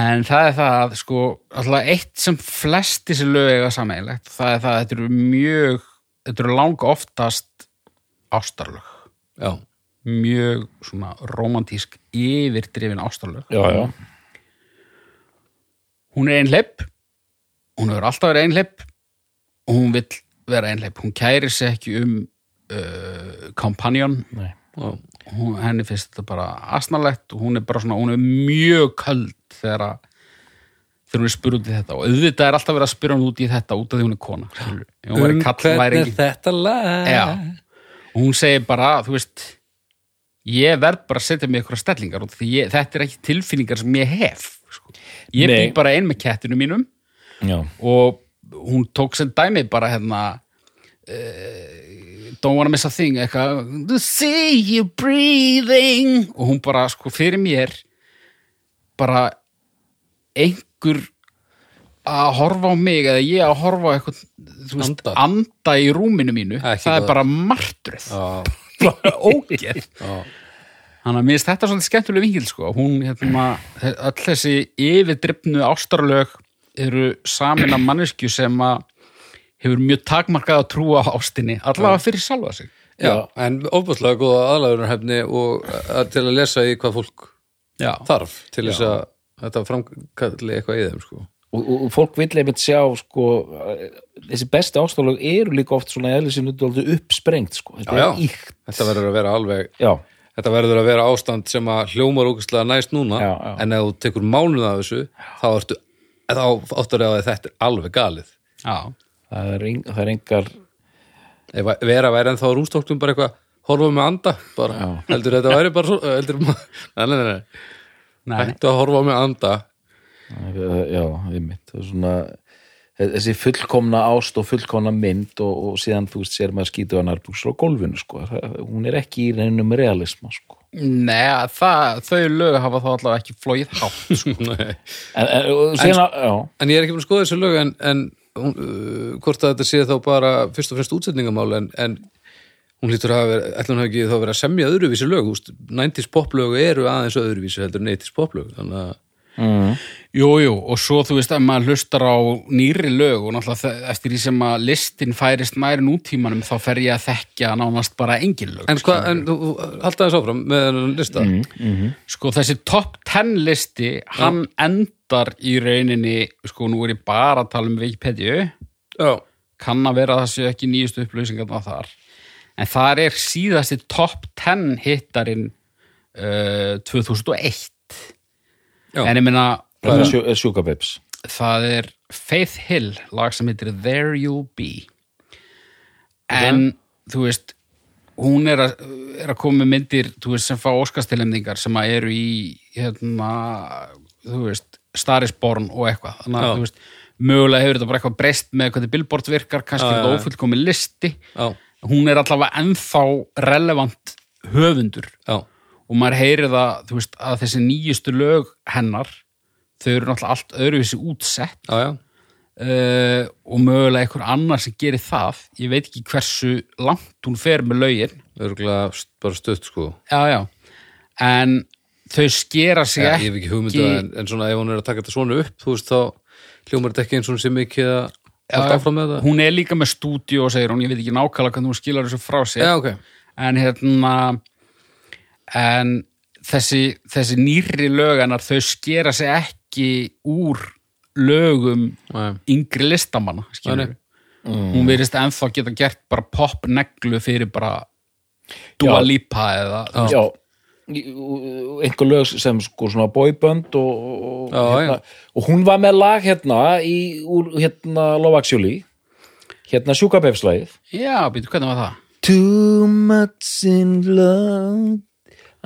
Speaker 4: en það er það að sko, alltaf eitt sem flesti sem lög eiga sameiginlegt, það er það að þetta eru mjög, þetta eru langa oftast ástarlög
Speaker 2: Já.
Speaker 4: mjög svona romantísk yfirdrifin ástarlög
Speaker 3: já, já,
Speaker 4: hún er einhlepp hún hefur alltaf verið einhlepp og hún vill vera einhlepp hún kærir sig ekki um uh, kompanjón
Speaker 3: nei
Speaker 2: Já.
Speaker 4: Hún- henni finnst þetta bara asnalegt og hún er bara svona, hún er mjög köld þegar að þegar hún er spurð út í þetta og auðvitað er alltaf verið að spyrja hún út í þetta út af því hún er kona skilurðu. Ef hún væri
Speaker 2: Um
Speaker 4: kall, væri
Speaker 2: hvernig
Speaker 4: ekki
Speaker 2: þetta lag
Speaker 4: Já. og hún segir bara, þú veist ég verð bara að setja mig ykkur stellingar út af því ég, þetta er ekki tilfinningar sem ég hef sko. ég
Speaker 3: Nei.
Speaker 4: bý bara ein með kettinu mínum
Speaker 3: já,
Speaker 4: og hún tók sem dæmi bara hérna uh, don't wanna miss a thing eitthvað, to see you breathing og hún bara sko fyrir mér bara einhver að horfa á mig eða ég að horfa á eitthvað þú veist,
Speaker 2: Anda.
Speaker 4: anda. í rúminu mínu
Speaker 2: Það er ekki
Speaker 4: það
Speaker 2: góð.
Speaker 4: er bara martröð
Speaker 2: Já.
Speaker 4: ógeð
Speaker 2: Já.
Speaker 4: Þannig að mér finnst þetta svolítið skemmtuleg vingil sko. Hún, hérna, öll þessi yfirdrifnu ástarlög eru samin af manneskju sem að hefur mjög takmarkað að trúa á ástinni, allavega fyrir sjálfa sig.
Speaker 2: Já, en ofbúslega góða aðlæðunarhefni og að, til að lesa í hvað fólk
Speaker 4: Já.
Speaker 2: þarf til þess að þetta framkalli eitthvað í þeim sko.
Speaker 3: og, og, og fólk vill einmitt sjá sko, eh, þessi besti ástáðlög eru líka oft svona eðlis sem þetta er uppsprengt sko. þetta
Speaker 2: Já, já.
Speaker 3: er íkt
Speaker 2: Þetta verður að vera alveg
Speaker 3: já,
Speaker 2: þetta verður að vera ástand sem að hljómar ógustlega næst núna
Speaker 3: Já, já.
Speaker 2: en ef þú tekur mánuð af þessu þá ertu þá áttur að þetta er alveg galið
Speaker 4: Já.
Speaker 3: það er, ein, það er engar
Speaker 2: ef að vera væri ennþá rúmstólkum bara eitthvað horfa með anda bara, heldur þetta væri bara svo eh, heldur, nei, nei, nei, nei,
Speaker 4: Nei, nei.
Speaker 2: hættu að horfa með anda
Speaker 3: Eh, já, einmitt það er svona, þessi fullkomna ást og fullkomna mynd og, og síðan þú veist sér maður skýtu að nærbuksur á gólfinu sko. það, hún er ekki í reynum realisma sko.
Speaker 4: Nei, það, þau lög hafa þá allavega ekki flóið hátt.
Speaker 2: Nei.
Speaker 3: en, en, og síðan, já,
Speaker 2: en ég er ekki búin að skoða þessu lög en, en hún, uh, hvort að þetta sé þá bara fyrst og fremst útsetningamál en, en hún hlýtur að hafa verið, ætlum hafa ekki þá verið að semja öðruvísi lög, úst, 90s poplög eru aðeins öðruvísi heldur en 90s poplög þannig að
Speaker 4: Jú, jú, og svo þú veist að maður hlustar á nýri lög og náttúrulega þe- eftir því sem að listin færist næri nútímanum þá fer ég að þekkja nánast bara engin lög.
Speaker 2: En hvað, en þú halda þess áfram með þennan lista
Speaker 4: Sko þessi top 10 listi, hann endar í rauninni, sko nú er ég bara að tala um Wikipedia,
Speaker 2: Já,
Speaker 4: kann að vera að það séu ekki nýjustu upplýsingarna þar, en þar er síðasti top 10 hittarinn uh, 2001.
Speaker 2: Já.
Speaker 4: En ég meina,
Speaker 3: það er sjú, sjúkabips
Speaker 4: það er Faith Hill, lag sem heitir There You'll Be. En, þú veist, hún er að, er að koma með myndir þú veist, sem fá óskastilemningar sem að eru í hérna, þú veist, starisborn og eitthvað þannig
Speaker 2: Já.
Speaker 4: að þú veist, mögulega hefur þetta bara eitthvað breyst með hvernig billboard virkar, kannski
Speaker 2: Já,
Speaker 4: er þetta
Speaker 2: já, já.
Speaker 4: ófullkomi listi
Speaker 2: já,
Speaker 4: hún er allavega ennþá relevant höfundur
Speaker 2: já,
Speaker 4: og maður heyrir það, þú veist, að þessi nýjustu lög hennar þau eru náttúrulega allt öðruvísi útsett
Speaker 2: já, já.
Speaker 4: uh, og mögulega einhver annar sem gerir það ég veit ekki hversu langt hún fer með lögin
Speaker 2: Örgulega bara stutt sko
Speaker 4: já, já. en þau skera sig
Speaker 2: Já, Ég
Speaker 4: ekki
Speaker 2: hef ekki hugmyndu en, en svona ef hún er að taka þetta svona upp þú veist þá hljómar þetta ekki eins og hún sé mikið að halda áfram með það
Speaker 4: hún er líka með stúdíu og segir hún, ég veit ekki nákvæmlega hvernig hún skilar þessu frá sig
Speaker 2: Já, ok,
Speaker 4: en hérna en þessi, þessi nýrri löganar þau skera sig ekki úr lögum
Speaker 2: Nei.
Speaker 4: yngri listamanna
Speaker 2: Nei,
Speaker 4: skilur hún verðist ennþá geta gert bara popneglu fyrir bara Dua
Speaker 3: Já.
Speaker 4: Lipa eða þú veist,
Speaker 3: já í- og einhver lög sem sko svona boybönd og, og,
Speaker 2: Já,
Speaker 3: hérna, og hún var með lag hérna í, úr hérna Love Actually hérna sjúkabefslagið
Speaker 4: já, býtu, hvernig var það?
Speaker 3: Too much in love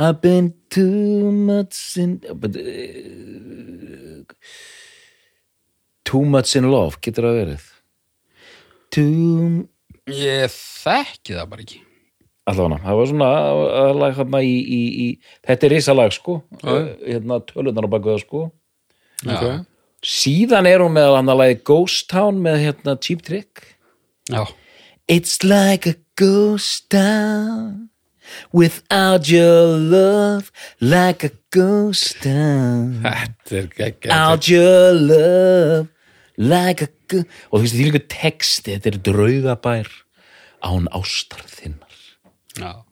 Speaker 3: I've been too much in but, eh, Too much in love getur það verið Too
Speaker 4: Ég þekki það bara ekki
Speaker 3: Æ, allavega, það var svona aðalega hérna í, í, í þetta er risalag sko hérna tölunar á baku það sko
Speaker 4: já,
Speaker 3: síðan er hún með hann að lagi Ghost Town með hérna Cheap Trick
Speaker 4: já.
Speaker 3: It's like a ghost town without your love like a ghost town
Speaker 2: Þetta er geggjað.
Speaker 3: out your love like a ghost og þú veist því líka texti, þetta er draugabær án ástar þinnar
Speaker 4: Já.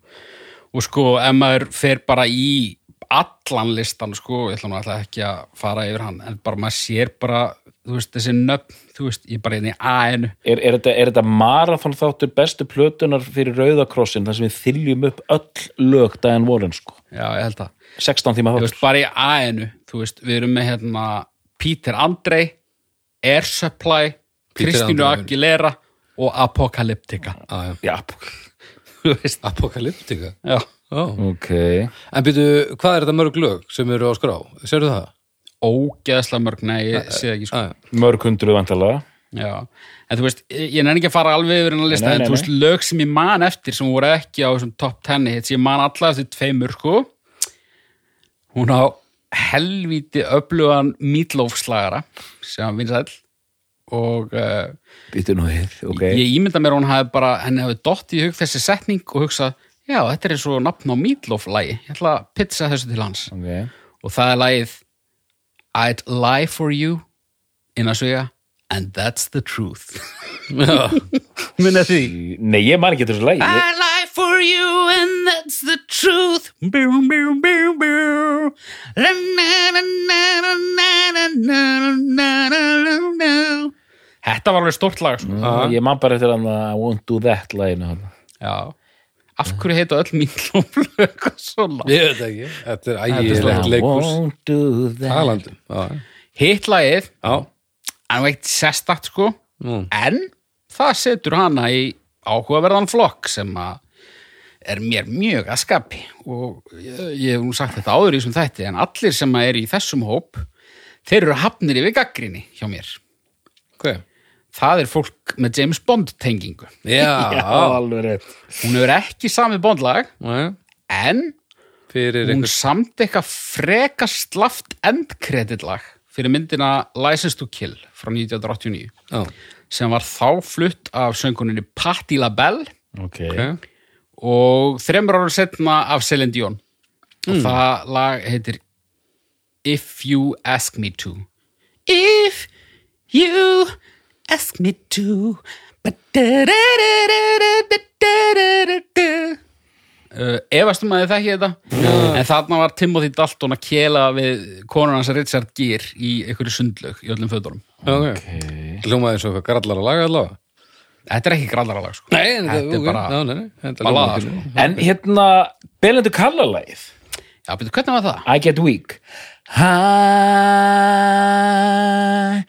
Speaker 4: Og sko, ef maður fer bara í allan listan, sko, ég ætla nú alltaf ekki að fara yfir hann, en bara maður sér bara, þú veist, þessi nöfn, þú veist, ég er bara inn í A-inu.
Speaker 3: Er, er, þetta, er þetta marathon þáttur bestu plötunar fyrir Rauðakrossin þar sem við þyljum upp öll lög daginn vorin sko,
Speaker 4: Já, ég held að.
Speaker 3: 16 tíma
Speaker 4: Þú
Speaker 3: þáttur
Speaker 4: veist, bara í A-inu, þú veist, við erum með hérna Peter Andrei, Air Supply,
Speaker 2: Peter
Speaker 4: Kristínu
Speaker 2: Andre.
Speaker 4: Aguilera og Apocalyptica.
Speaker 2: Já, já.
Speaker 3: Já,
Speaker 4: Þú veist,
Speaker 2: Apokalyptika.
Speaker 4: já.
Speaker 2: Já.
Speaker 3: ok
Speaker 2: En byrju, hvað er þetta mörg lög sem eru á skrá? Sérðu það?
Speaker 4: Ógeðslega mörg, nei, ég sé ekki, sko.
Speaker 2: Já, já.
Speaker 3: Mörg hundruð vantalega
Speaker 4: Já, en þú veist, ég nenni ekki að fara alveg yfir hennar lista,
Speaker 3: Nei, nei,
Speaker 4: en þú
Speaker 3: nei.
Speaker 4: veist, lög sem ég man eftir sem voru ekki á þessum top 10 hits, ég man allar eftir tveimur, sko hún á helvíti öflugan mítlófslagara sem hann vinsæll og uh,
Speaker 3: Býtu nú hér, ok
Speaker 4: ég ímynda mér að hún hafi bara, henni hafi dott í hug þessi setning og hugsað, já, þetta er eins og nafn á mítlóflagi, ég ætla að pizza þessu til hans
Speaker 3: okay.
Speaker 4: og það er lagið I'd lie for you inn að segja and that's the truth minna því
Speaker 3: Nei, ég man ekki eftir þessu lagi ég,
Speaker 4: I lie for you and that's the truth bú, bú, bú, bú. La, na, na, na, na, na, na, na, na, na, na. Þetta var alveg stórt lag sko.
Speaker 3: ég man bara eftir hann að I won't do that laginu hann
Speaker 4: Já Af hverju heita öll mín lóflög og svona?
Speaker 2: Ég veit ekki. Þetta er
Speaker 3: I
Speaker 2: ægilegt leikurs.
Speaker 3: won't do that
Speaker 2: Talandi. Já, já.
Speaker 4: Hitt lagið,
Speaker 2: Já.
Speaker 4: hann var eitt sérstakt sko
Speaker 2: Mm.
Speaker 4: en það setur hana í áhugaverðan flokk sem að er mér mjög að skapi og ég, ég hef nú sagt þetta áður í þessum þætti en allir sem að er í þessum hóp þeir eru hafnir yfir gaggrinni hjá mér
Speaker 2: Hvað?
Speaker 4: það er fólk með James Bond tengingu
Speaker 3: Já,
Speaker 2: Já.
Speaker 3: alveg rétt
Speaker 4: hún hefur ekki sami Bondlag
Speaker 2: Já.
Speaker 4: en
Speaker 2: Fyrir
Speaker 4: hún
Speaker 2: einhver...
Speaker 4: samt eitthvað freka slaft endkreditlag fyrir myndina License to Kill frá 1989
Speaker 2: Já.
Speaker 4: sem var þá flutt af sönguninni Patti LaBelle
Speaker 3: Ok,
Speaker 2: Ok.
Speaker 4: og þremur ára setna af Celine Dion og það lag heitir If You Ask Me To If You Ask Me To Ba- da- da- da- da- da- da- da- da- da- da. Uh, efast um að þið þekki þetta en þarna var Timothy Dalton að kela við konur hans Richard Gere í einhverju sundlög í öllum fötunum
Speaker 2: Já, ok. Hljómaði eins og eitthvað grallar að laga allavega.
Speaker 4: þetta er ekki grallaralag sko.
Speaker 2: Nei, en
Speaker 4: Þetta er
Speaker 2: ok.
Speaker 4: bara sko.
Speaker 2: Já, nei, nei. Þetta er
Speaker 4: ballada,
Speaker 2: hljómaði ekki.
Speaker 3: En hérna, Belindu Kallalagið
Speaker 4: já, betur, hvernig var það?
Speaker 3: I get weak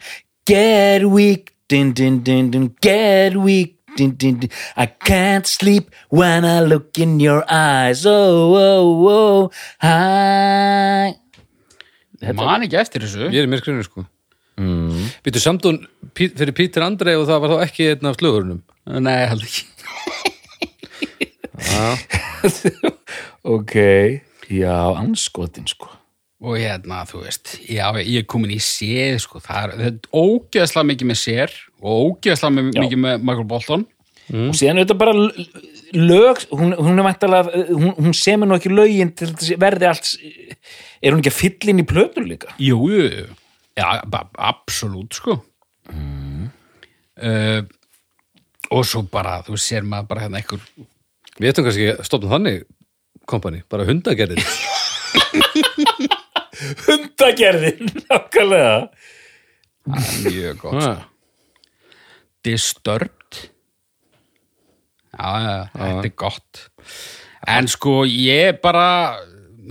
Speaker 3: I get weak din, din, din, din, Get weak din, din, din. I can't sleep when I look in your eyes Oh, oh, oh I
Speaker 4: man ekki eftir þessu
Speaker 2: Ég er í myrkrinu, sko. Mm. Býtu samtón fyrir Pítur Andrei og það var þá ekki einn af slögurinnum.
Speaker 4: nei, held ekki
Speaker 3: Ok Já, anskotin sko
Speaker 4: og hérna, þú veist, já, ég er komin í séð, sko, það er, þetta er ógeðslega mikið með sér og ógeðslega mi-
Speaker 3: Já.
Speaker 4: mikið með Michael Bolton
Speaker 3: Og síðan er þetta bara l- l- lög Hún, hún er mæntalega hún, hún semur nú ekki lögin til þess verði allt Er hún ekki að fylla inn í plötur líka?
Speaker 4: Jú, jú, jú. já, ba- absolút, sko mm. og svo bara, þú veist, sér maður bara hérna einhver
Speaker 2: Við ættum kannski að stopna þannig kompani, bara hundagerðið.
Speaker 3: Hundagerðin, nákvæmlega
Speaker 4: mjög gott,
Speaker 2: Já.
Speaker 4: Disturbed já, já, þetta er gott en sko, ég bara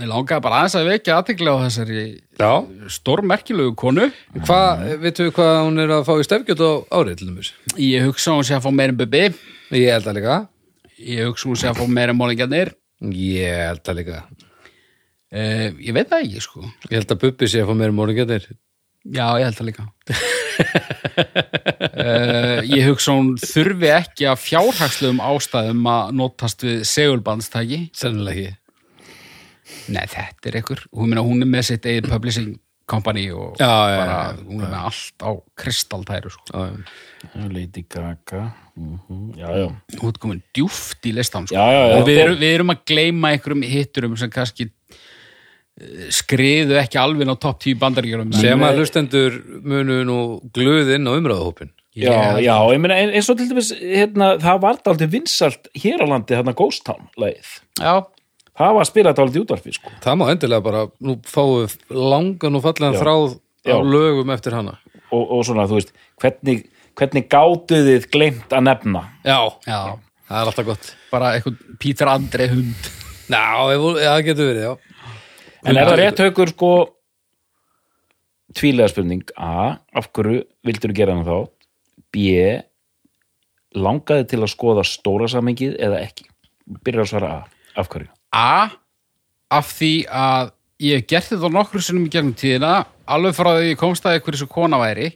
Speaker 4: mér langaði bara aðeins að vekja aðtekla á þessari
Speaker 2: Já.
Speaker 4: stórmerkilegu konu
Speaker 2: Hvað, veitum við hvað hún er að fá í stefgjöld á árið til dæmis?
Speaker 4: Ég hugsa að hún sé að fá meira en Bubi
Speaker 2: Ég held að líka.
Speaker 4: Ég hugsa að hún sé að fá meira en Mólingarnir
Speaker 2: Ég held að líka.
Speaker 4: uh, Ég veit það ekki sko
Speaker 2: Ég held að Bubbi sé að fá meira morgungetnir.
Speaker 4: Já, ég held það líka uh, ég hugsa hún þurfi ekki að fjárhagslegum ástæðum að notast við segulbandstæki
Speaker 2: Sennilega ekki.
Speaker 4: Nei, þetta er ykkur. Hún, meina, hún er með sitt eigið publishing company og
Speaker 2: Já, já,
Speaker 4: bara,
Speaker 2: já, já.
Speaker 4: hún er með allt á kristaltæru sko.
Speaker 2: Já, já.
Speaker 3: Lady Gaga mm Já, já,
Speaker 4: Hún er komin djúft í listan sko.
Speaker 3: já, já, já.
Speaker 4: og við erum, við erum að gleyma einhverjum hitturum sem kannski eh, skriðu ekki alveg á topp 10 bandaríkjörum
Speaker 2: Sem að hlustendur munu nú glöðinn á umræðahópin.
Speaker 3: Já, já, ég meina ein- eins og til dæmis hérna, það var daldið vinsalt hér á landi hérna Ghost Town leið
Speaker 4: já,
Speaker 3: það var að spila daldið útvarfi sko
Speaker 2: Það má endilega bara, nú fáum við langan og fallegan
Speaker 3: Já.
Speaker 2: þráð á
Speaker 3: Já.
Speaker 2: lögum eftir hana.
Speaker 3: og, og svona þú veist, hvernig, hvernig gátuð þið gleymt að nefna
Speaker 2: Já,
Speaker 4: já,
Speaker 2: það er alltaf gott.
Speaker 4: bara eitthvað Pítur Andrei hund
Speaker 2: Já, ef, ja, það getur verið, já.
Speaker 3: en er það rétt haukur sko tvílega spurning A, af hverju vildur gera hann þá B langaði til að skoða stóra samengið eða ekki, byrjar að svara A af hverju,
Speaker 4: A af því að ég hef gert þetta nokkru sinnum í gegnum tíðina alveg frá því ég komst að því hverju svo kona væri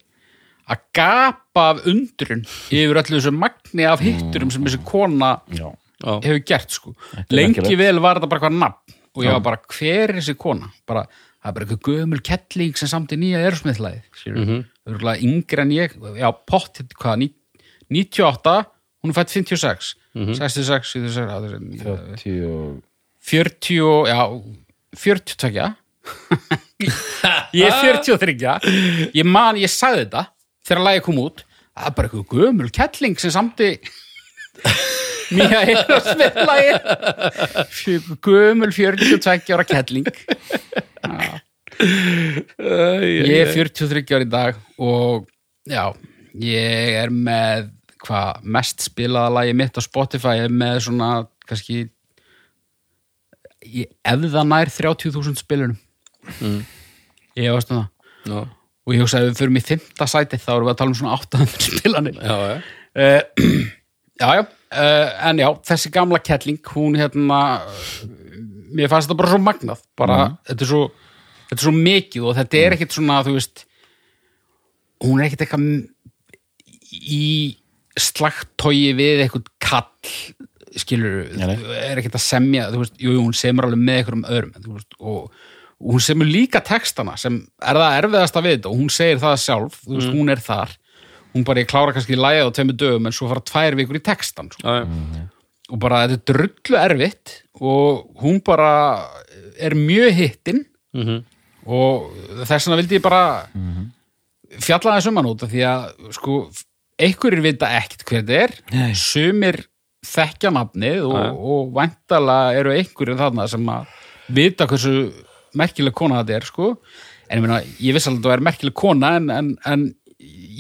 Speaker 4: að gapa af undrun yfir öllu þessu magni af hitturum sem þessi kona
Speaker 3: já,
Speaker 2: Já.
Speaker 4: hefur gert sko
Speaker 3: er
Speaker 4: lengi
Speaker 3: merkilegt.
Speaker 4: vel var þetta bara eitthvað nafn og ég var bara hver er þessi kona bara, það er bara eitthvað gömul kettling sem samt í nýja erusmiðlaði mm -hmm. yngri en ég, já pott hvað, ní- 98 hún er fætt 56 66, 76 já,
Speaker 3: 30
Speaker 4: þessi-
Speaker 3: og
Speaker 4: 40, og- já 42 ég er 43 ég man, ég sagði þetta þegar lagið kom út það er bara eitthvað gömul kettling sem samti nýja eyrasmiðlagi Fjö- gömul 42 ára kettling ég er 43 ára í dag og já, ég er með hvað mest spilaða lagi mitt á Spotify er með svona kannski ég, ef það nær 30.000 spilunum ég veist um það
Speaker 2: Já,
Speaker 4: og ég hugsa að ef við förum í fymta sæti þá erum við að tala um svona 800 spilanir
Speaker 2: já, já.
Speaker 4: uh, já, já uh, en já, þessi gamla kettling hún hérna eh, mér fannst þetta bara svo magnað bara, þetta, er svo, þetta er svo mikið og þetta er ekkit svona, þú veist hún er ekkit eitthvað m- í slagtói við eitthvað kall skilur,
Speaker 3: nei.
Speaker 4: er ekkit að semja þú veist, jú, jú, hún semur alveg með einhverjum öðrum þú veist, og, og hún semur líka textana sem er það erfiðasta við þetta og hún segir það sjálf, þú veist, hún er þar hún bara, ég klára kannski lægið á tveimur dögum en svo fara tvær vikur í textan sko.
Speaker 2: já.
Speaker 4: og bara þetta er drullu erfitt og hún bara er mjög hittinn og þess vegna vildi ég bara fjalla þessum hann út af því að sko, einhverjir vita ekkert hver þetta er,
Speaker 3: Nei.
Speaker 4: sumir þekkja nafnið og, og væntalega eru einhverjir þarna sem að vita hversu merkileg kona þetta er sko. en ég, meina, ég vissi alveg að þetta er merkileg kona en, en, en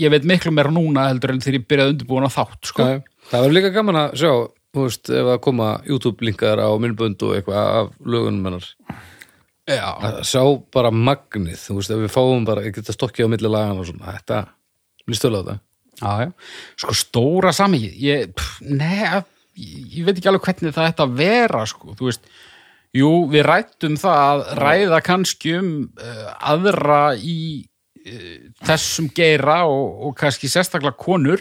Speaker 4: ég veit miklu meira núna heldur en þegar ég byrjaði undirbúin á þátt sko.
Speaker 2: Já, Það verður líka gaman að sjá, þú veist, ef að koma YouTube-linkar á minnbönd og eitthvað af lögunum hennar.
Speaker 4: Já.
Speaker 2: Að sjá bara magnið, þú veist, ef við fáum bara, ég geta stokkið á milli lagana og svona, þetta, mér stölu á þetta.
Speaker 4: Já, já. Sko stóra samhengið, ég, pff, neða, ég, ég veit ekki alveg hvernig það ætti að vera, sko, þú veist, jú, við rættum það að ræða kannski um uh, aðra í uh, þessum geira og, og kannski sérstaklega konur,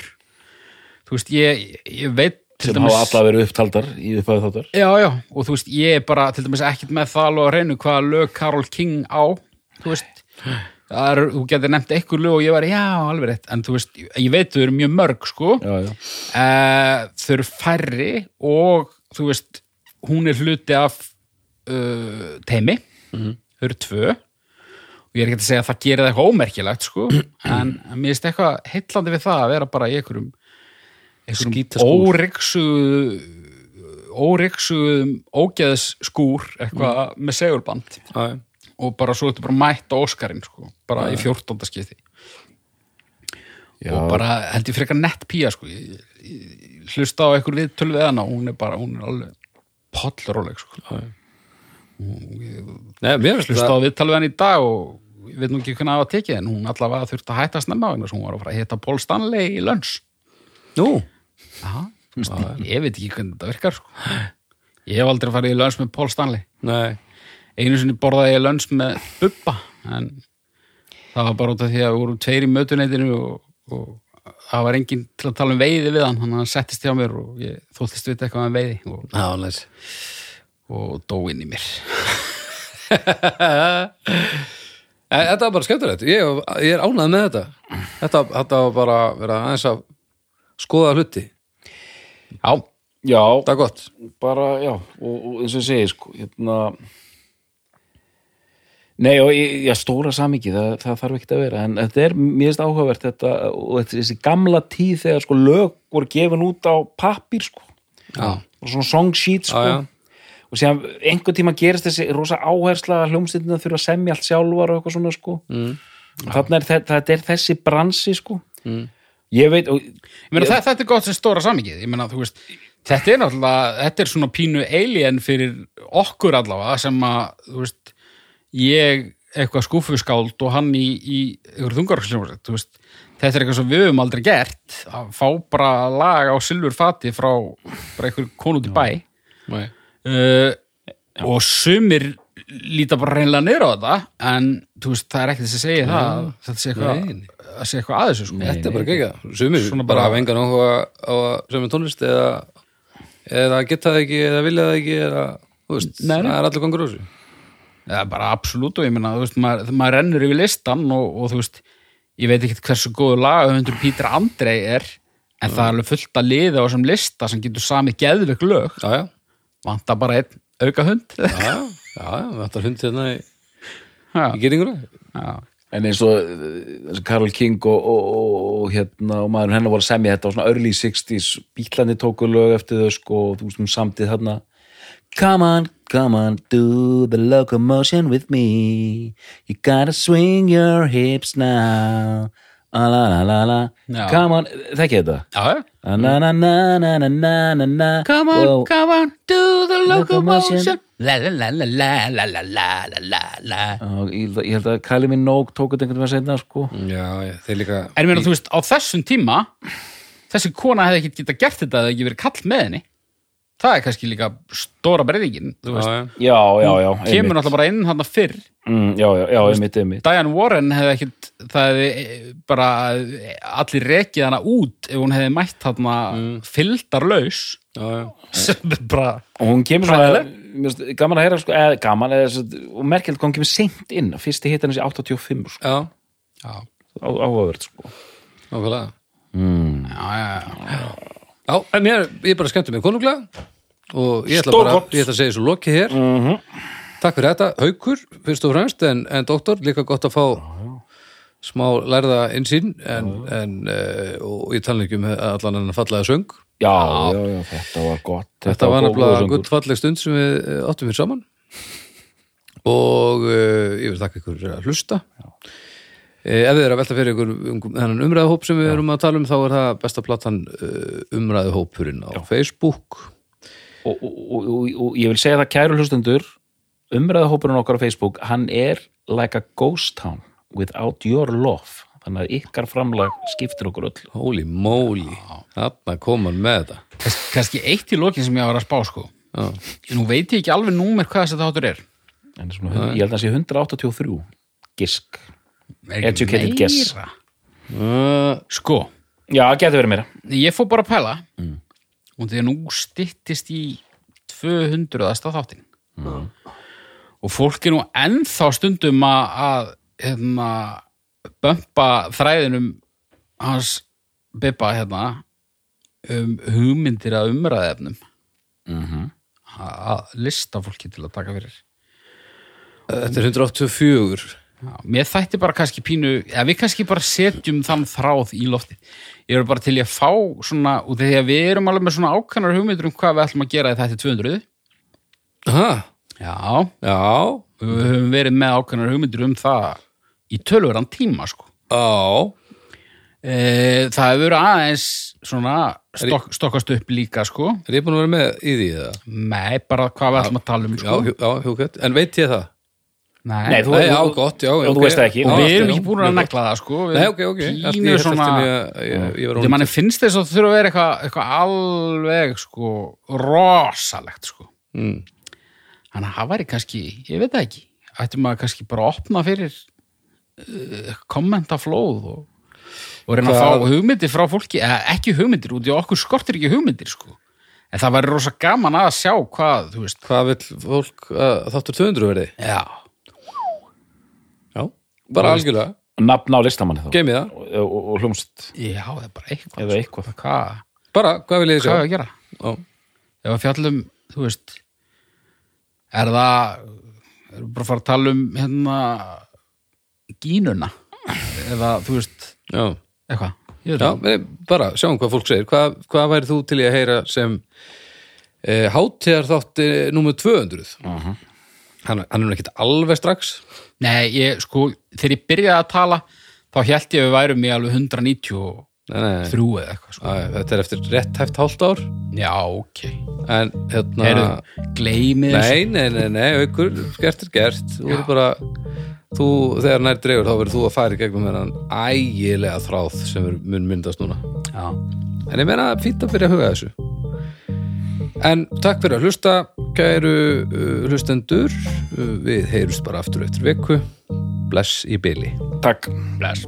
Speaker 4: þú veist, ég, ég veit til
Speaker 3: sem hafa alla verið upptaldar í upphæðu þáttar
Speaker 4: Já, já, og þú veist, ég er bara til dæmis ekkert með það alveg að reynu hvaða lög Karol King á, þú veist það er, þú getur nefnt einhver lög og ég var, já, alveg rétt, en þú veist ég veit þau eru mjög mörg, sko uh,
Speaker 3: já, já.
Speaker 4: Eh, þau eru færri og þú veist, hún er hluti af uh, teimi þau eru tvö og ég er ekki að segja að það gerir það eitthvað ómerkilegt, sko en, en mér finnst eitthvað heillandi við það að vera bara í einhverjum
Speaker 2: Skítaskúr.
Speaker 4: óryggsuðu óryggsuðum ógeðs skúr eitthvað með segurband
Speaker 2: Já, já.
Speaker 4: og bara svo ertu bara mætt á Óskarinn sko, bara í 14. skipti og bara held ég frekar nett pía sko, ég, ég, ég hlusta á einhver við tölvið hana og hún er bara, hún er alveg pollróleg sko
Speaker 2: Nei, mér finnst
Speaker 4: hlusta
Speaker 2: það,
Speaker 4: á viðtal við hann í dag og ég veit nú ekki hvernig það var tekið en hún allavega þurfti að hætta að snemma vegna sem hún var að fara að hitta Paul Stanley í lönns
Speaker 2: nú,
Speaker 4: Já, þú veist, ég veit ekki hvernig þetta virkar sko. Ég hef aldrei farið í lönns með Paul Stanley
Speaker 2: nei,
Speaker 4: Einu sinni borðaði ég lönns með Bubba en það var bara út af því að við vorum tveir í mötuneytinu og, og það var enginn til að tala um veiði við hann þannig að hann settist hjá mér og ég þóttist við eitthvað um veiði og,
Speaker 2: Já, næs.
Speaker 4: og dó inn í mér
Speaker 2: En E, Þetta var bara skemmtilegt. Ég, ég er ánægð með þetta. Þetta, þetta var bara vera aðeins að skoða hluti.
Speaker 4: Já,
Speaker 3: já,
Speaker 2: Þetta er gott.
Speaker 3: bara, já, og, og eins og ég segi sko, hérna Nei, og ég, já, stóra samingi, það, það þarf ekkert að vera en þetta er mjög áhugavert þetta, og þetta er þessi gamla tíð þegar sko lög voru gefin út á pappír sko,
Speaker 2: Já.
Speaker 3: og svona song sheet sko,
Speaker 2: Já, já.
Speaker 3: og síðan einhvern tíma gerist þessi rosa áhersla að hljómsveitina þurfa að semja allt sjálfar og eitthvað svona sko mm. þannig er þetta, þetta er þessi bransi sko mm. ég veit og,
Speaker 4: ég meina þetta, þetta er gott sem stóra samingið, ég meina þú veist þetta er náttúrulega, þetta er svona pínu alien fyrir okkur allavega sem að, þú veist ég eitthvað skúfuskáld og hann í, í ykkur þungarhúsljómsveit, þú veist þetta er eitthvað sem við höfum aldrei gert að fá bara lag á silfurfati frá bara einhver konu til bæ
Speaker 2: Nei.
Speaker 4: uh, og sumir líta bara reynilega niður á þetta en þú veist, það er ekkert sem segir það að þetta sé eitthvað,
Speaker 2: Nei, nei.
Speaker 4: að sé eitthvað aðeins sko.
Speaker 2: Þetta er bara gegja. Sumir
Speaker 4: Svona
Speaker 2: bara,
Speaker 4: bara-
Speaker 2: hafa engan áhuga á sömu tónlist eða, eða geta það ekki eða vilja það ekki eða, þú veist,
Speaker 4: Nei, nei.
Speaker 2: það er allir gangur úr þessu.
Speaker 4: Það er bara absolutt og ég meina, þú veist, maður, maður rennur yfir listan og, og þú veist, ég veit ekkert hversu góðu lagahundur Pítur Andrei er en það er alveg fullt að liða á þessum lista sem getur samið geðvik lög
Speaker 2: Já, já.
Speaker 4: vantar bara einn auka hund
Speaker 2: Já, já. Já, já. Þetta er hundið hérna í,
Speaker 4: Já.
Speaker 2: í geringur.
Speaker 4: Já.
Speaker 3: en eins og eh, Karol King og, og, og, og hérna og maður hennar voru að semja þetta á svona early 60s bílandi tóku lög eftir þau sko og þú veist um samtið þarna Come on, come on, do the locomotion with me You gotta swing your hips now Ah, La la la la
Speaker 4: Já.
Speaker 3: Come on, þekki þetta?
Speaker 4: Já.
Speaker 3: Na na na na na na na na na
Speaker 4: Come on,
Speaker 3: Wow.
Speaker 4: come on, do the locomotion
Speaker 3: Locomotion.
Speaker 4: La la la la la la la la la la la
Speaker 3: Já, Ég held að- ég held að Kylie Minogue tók þetta einhvern veginn seinna sko
Speaker 2: Já, já. Þeir líka...
Speaker 4: En ég meina, þú veist, á þessum tíma þessi kona hefði ekki geta gert þetta eða ekki verið kall með henni Það er kannski líka stóra breyðingin þú veist,
Speaker 2: Já, já.
Speaker 3: Já, já, já
Speaker 4: kemur náttúrulega bara inn hann fyrr
Speaker 3: mm, Já, já, já, einmitt, einmitt
Speaker 4: Diane Warren hefði ekkit það hefði eh, bara eh, allir rekið hana út ef hún hefði mætt hann mm. fyldarlaus
Speaker 2: Já, já.
Speaker 4: sem er bara
Speaker 3: Og hún kemur svona mér finnst Gaman að heyra sko, eða gaman eða, sem sagt, Og merkilegt hvað hún kemur seint inn Fyrsti hittan þessi 85 sko,
Speaker 2: Já,
Speaker 4: já,
Speaker 3: á, áhugavert sko
Speaker 2: nákvæmlega.
Speaker 4: já, já, já.
Speaker 2: Já, en ég, ég bara skemmti mig konunglega og ég ætla bara, ég ætla að segja svo lokið hér
Speaker 3: Mhm.
Speaker 2: Takk fyrir þetta, haukur fyrst og fremst, en, en doktor, líka gott að fá smá lærða innsýn en, en uh, og ég tala ekki um allan en fallega söng
Speaker 3: Já, já, já, þetta var gott
Speaker 2: Þetta, var
Speaker 3: góð-
Speaker 2: nefnilega
Speaker 3: góður söngur.
Speaker 2: gutt falleg stund sem við eh, áttum hér saman og uh, ég vil þakka ykkur fyrir að hlusta Eh, Ef þið er að velta fyrir ykkur um þennan umræðuhóp sem við erum að tala um þá er það besta platan uh, umræðuhópurinn á Facebook
Speaker 3: og, og, og, og, og ég vil segja það kæru hlustendur umræðahópurinn okkar á Facebook hann er like a ghost town without your love þannig að ykkar framlag skiptir okkur öll
Speaker 2: Holy moly, þarna kom hann með þetta
Speaker 4: Kannski, kannski eitt í lokin sem ég var að spá sko
Speaker 2: Já,
Speaker 4: nú veit ég ekki alveg númer hvað þessi þáttur er
Speaker 3: en svona, hund- ég held að það sé 183 gisk
Speaker 4: Er ekki
Speaker 3: Educated guess.
Speaker 4: meira? Sko,
Speaker 3: já, getur verið meira
Speaker 4: ég fór bara að pæla og þegar nú styttist í 200. þáttin og fólk er nú ennþá stundum að, að hérna, bömpa þræðinum hans Bibba hérna um hugmyndir að umræðefnum mm að lista fólki til að taka fyrir
Speaker 2: þetta er 184
Speaker 4: Já, mér þætti bara kannski pínu eða við kannski bara setjum þann þráð í lofti ég er bara til ég að fá svona, og því að við erum alveg með svona ákannar hugmyndur um hvað við ætlum að gera í þætti 200
Speaker 2: Aha,
Speaker 4: já,
Speaker 2: Já,
Speaker 4: við höfum verið með ákannar hugmyndur um það í tölvöran tíma sko.
Speaker 2: á
Speaker 4: e, það hefur aðeins svona stok, stokkast upp líka sko.
Speaker 2: Er ég búin að vera með í því það?
Speaker 4: nei, bara hvað við ætlum að tala um
Speaker 2: Já,
Speaker 4: sko.
Speaker 2: hjú- já, hjókvæmt, en veit ég það?
Speaker 4: nei,
Speaker 3: Nei, þú-
Speaker 2: Nei, já, gott, já
Speaker 3: Já, þú
Speaker 2: ok.
Speaker 3: veist það ekki.
Speaker 2: Já,
Speaker 4: og við
Speaker 2: allt í
Speaker 4: erum
Speaker 2: lagi,
Speaker 4: ekki búin að
Speaker 2: mjög
Speaker 4: negla það sko.
Speaker 2: gott.
Speaker 4: Við
Speaker 2: Nei,
Speaker 4: erum
Speaker 2: ok, ok, allt í
Speaker 4: pínu
Speaker 2: hér
Speaker 4: svona
Speaker 2: svona Ég ég var
Speaker 4: Þegar manni
Speaker 2: ónýtt
Speaker 4: finnst þess að þurfa að vera eitthvað eitthva alveg sko rosalegt sko.
Speaker 2: Mm.
Speaker 4: Þannig að það væri kannski, ég veit það ekki, ætti maður kannski bara að opna fyrir eh, kommentaflóð og, og reyna að fá hugmyndir frá fólki eh, ekki hugmyndir, út í okkur skortir ekki hugmyndir sko. en það væri rosa gaman að sjá hvað, þú veist
Speaker 2: Hvað vill fólk að þáttur 200 verði?
Speaker 4: já,
Speaker 2: Já, bara algjörlega,
Speaker 3: nafn á listamanni þá
Speaker 2: geymið það
Speaker 3: og, og, og hlumst
Speaker 4: já, það er bara eitthvað sko.
Speaker 3: eða eitthvað
Speaker 4: hvað,
Speaker 2: Bara, hvað vil ég
Speaker 4: hvað er
Speaker 2: sjá?
Speaker 4: að gera
Speaker 2: Já.
Speaker 4: ef að fjallum, þú veist er það erum bara að fara að tala um hérna gínuna eða, þú veist,
Speaker 2: Já,
Speaker 4: eitthvað Ég veit
Speaker 2: já
Speaker 4: það.
Speaker 2: við- bara sjáum hvað fólk segir Hvað, hvað væri þú til í að heyra sem e, hátíðar þátti númer 200? hann, hann er nú ekkert alveg strax
Speaker 4: Nei, ég, sko, þegar ég byrjaði að tala þá held ég að við værum í alveg 193
Speaker 2: Nei, nei, nei.
Speaker 4: eða eitthvað
Speaker 2: Æ,
Speaker 4: sko.
Speaker 2: þetta er eftir rétt hæft hálft ár
Speaker 4: Já, ok
Speaker 2: En hérna
Speaker 4: Heyrðu, gleymið þessu.
Speaker 2: Nei, nei, nei, nei, aukur, gert er gert Þú eru bara þú, Þegar nær dregur þá verður þú að fara í gegnum hennan ægilega þráð sem er, mun myndast núna
Speaker 4: Já.
Speaker 2: En ég meina fínt að byrja að huga að þessu En takk fyrir að hlusta Kæru uh, hlustendur uh, Við heyrust bara aftur eftir viku Bless í byli
Speaker 3: takk
Speaker 4: Bless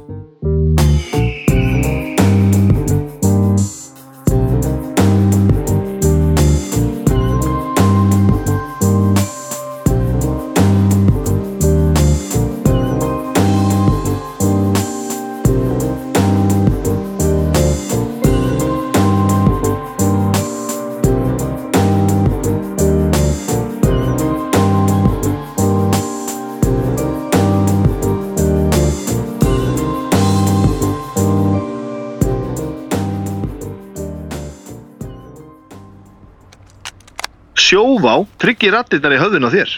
Speaker 1: Sjóvá tryggir rattirnar í höfðun á þér.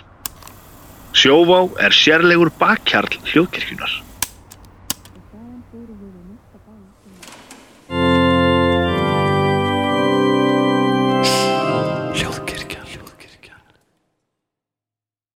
Speaker 1: Sjóvá er sérlegur bakkjarl hljóðkirkjunar.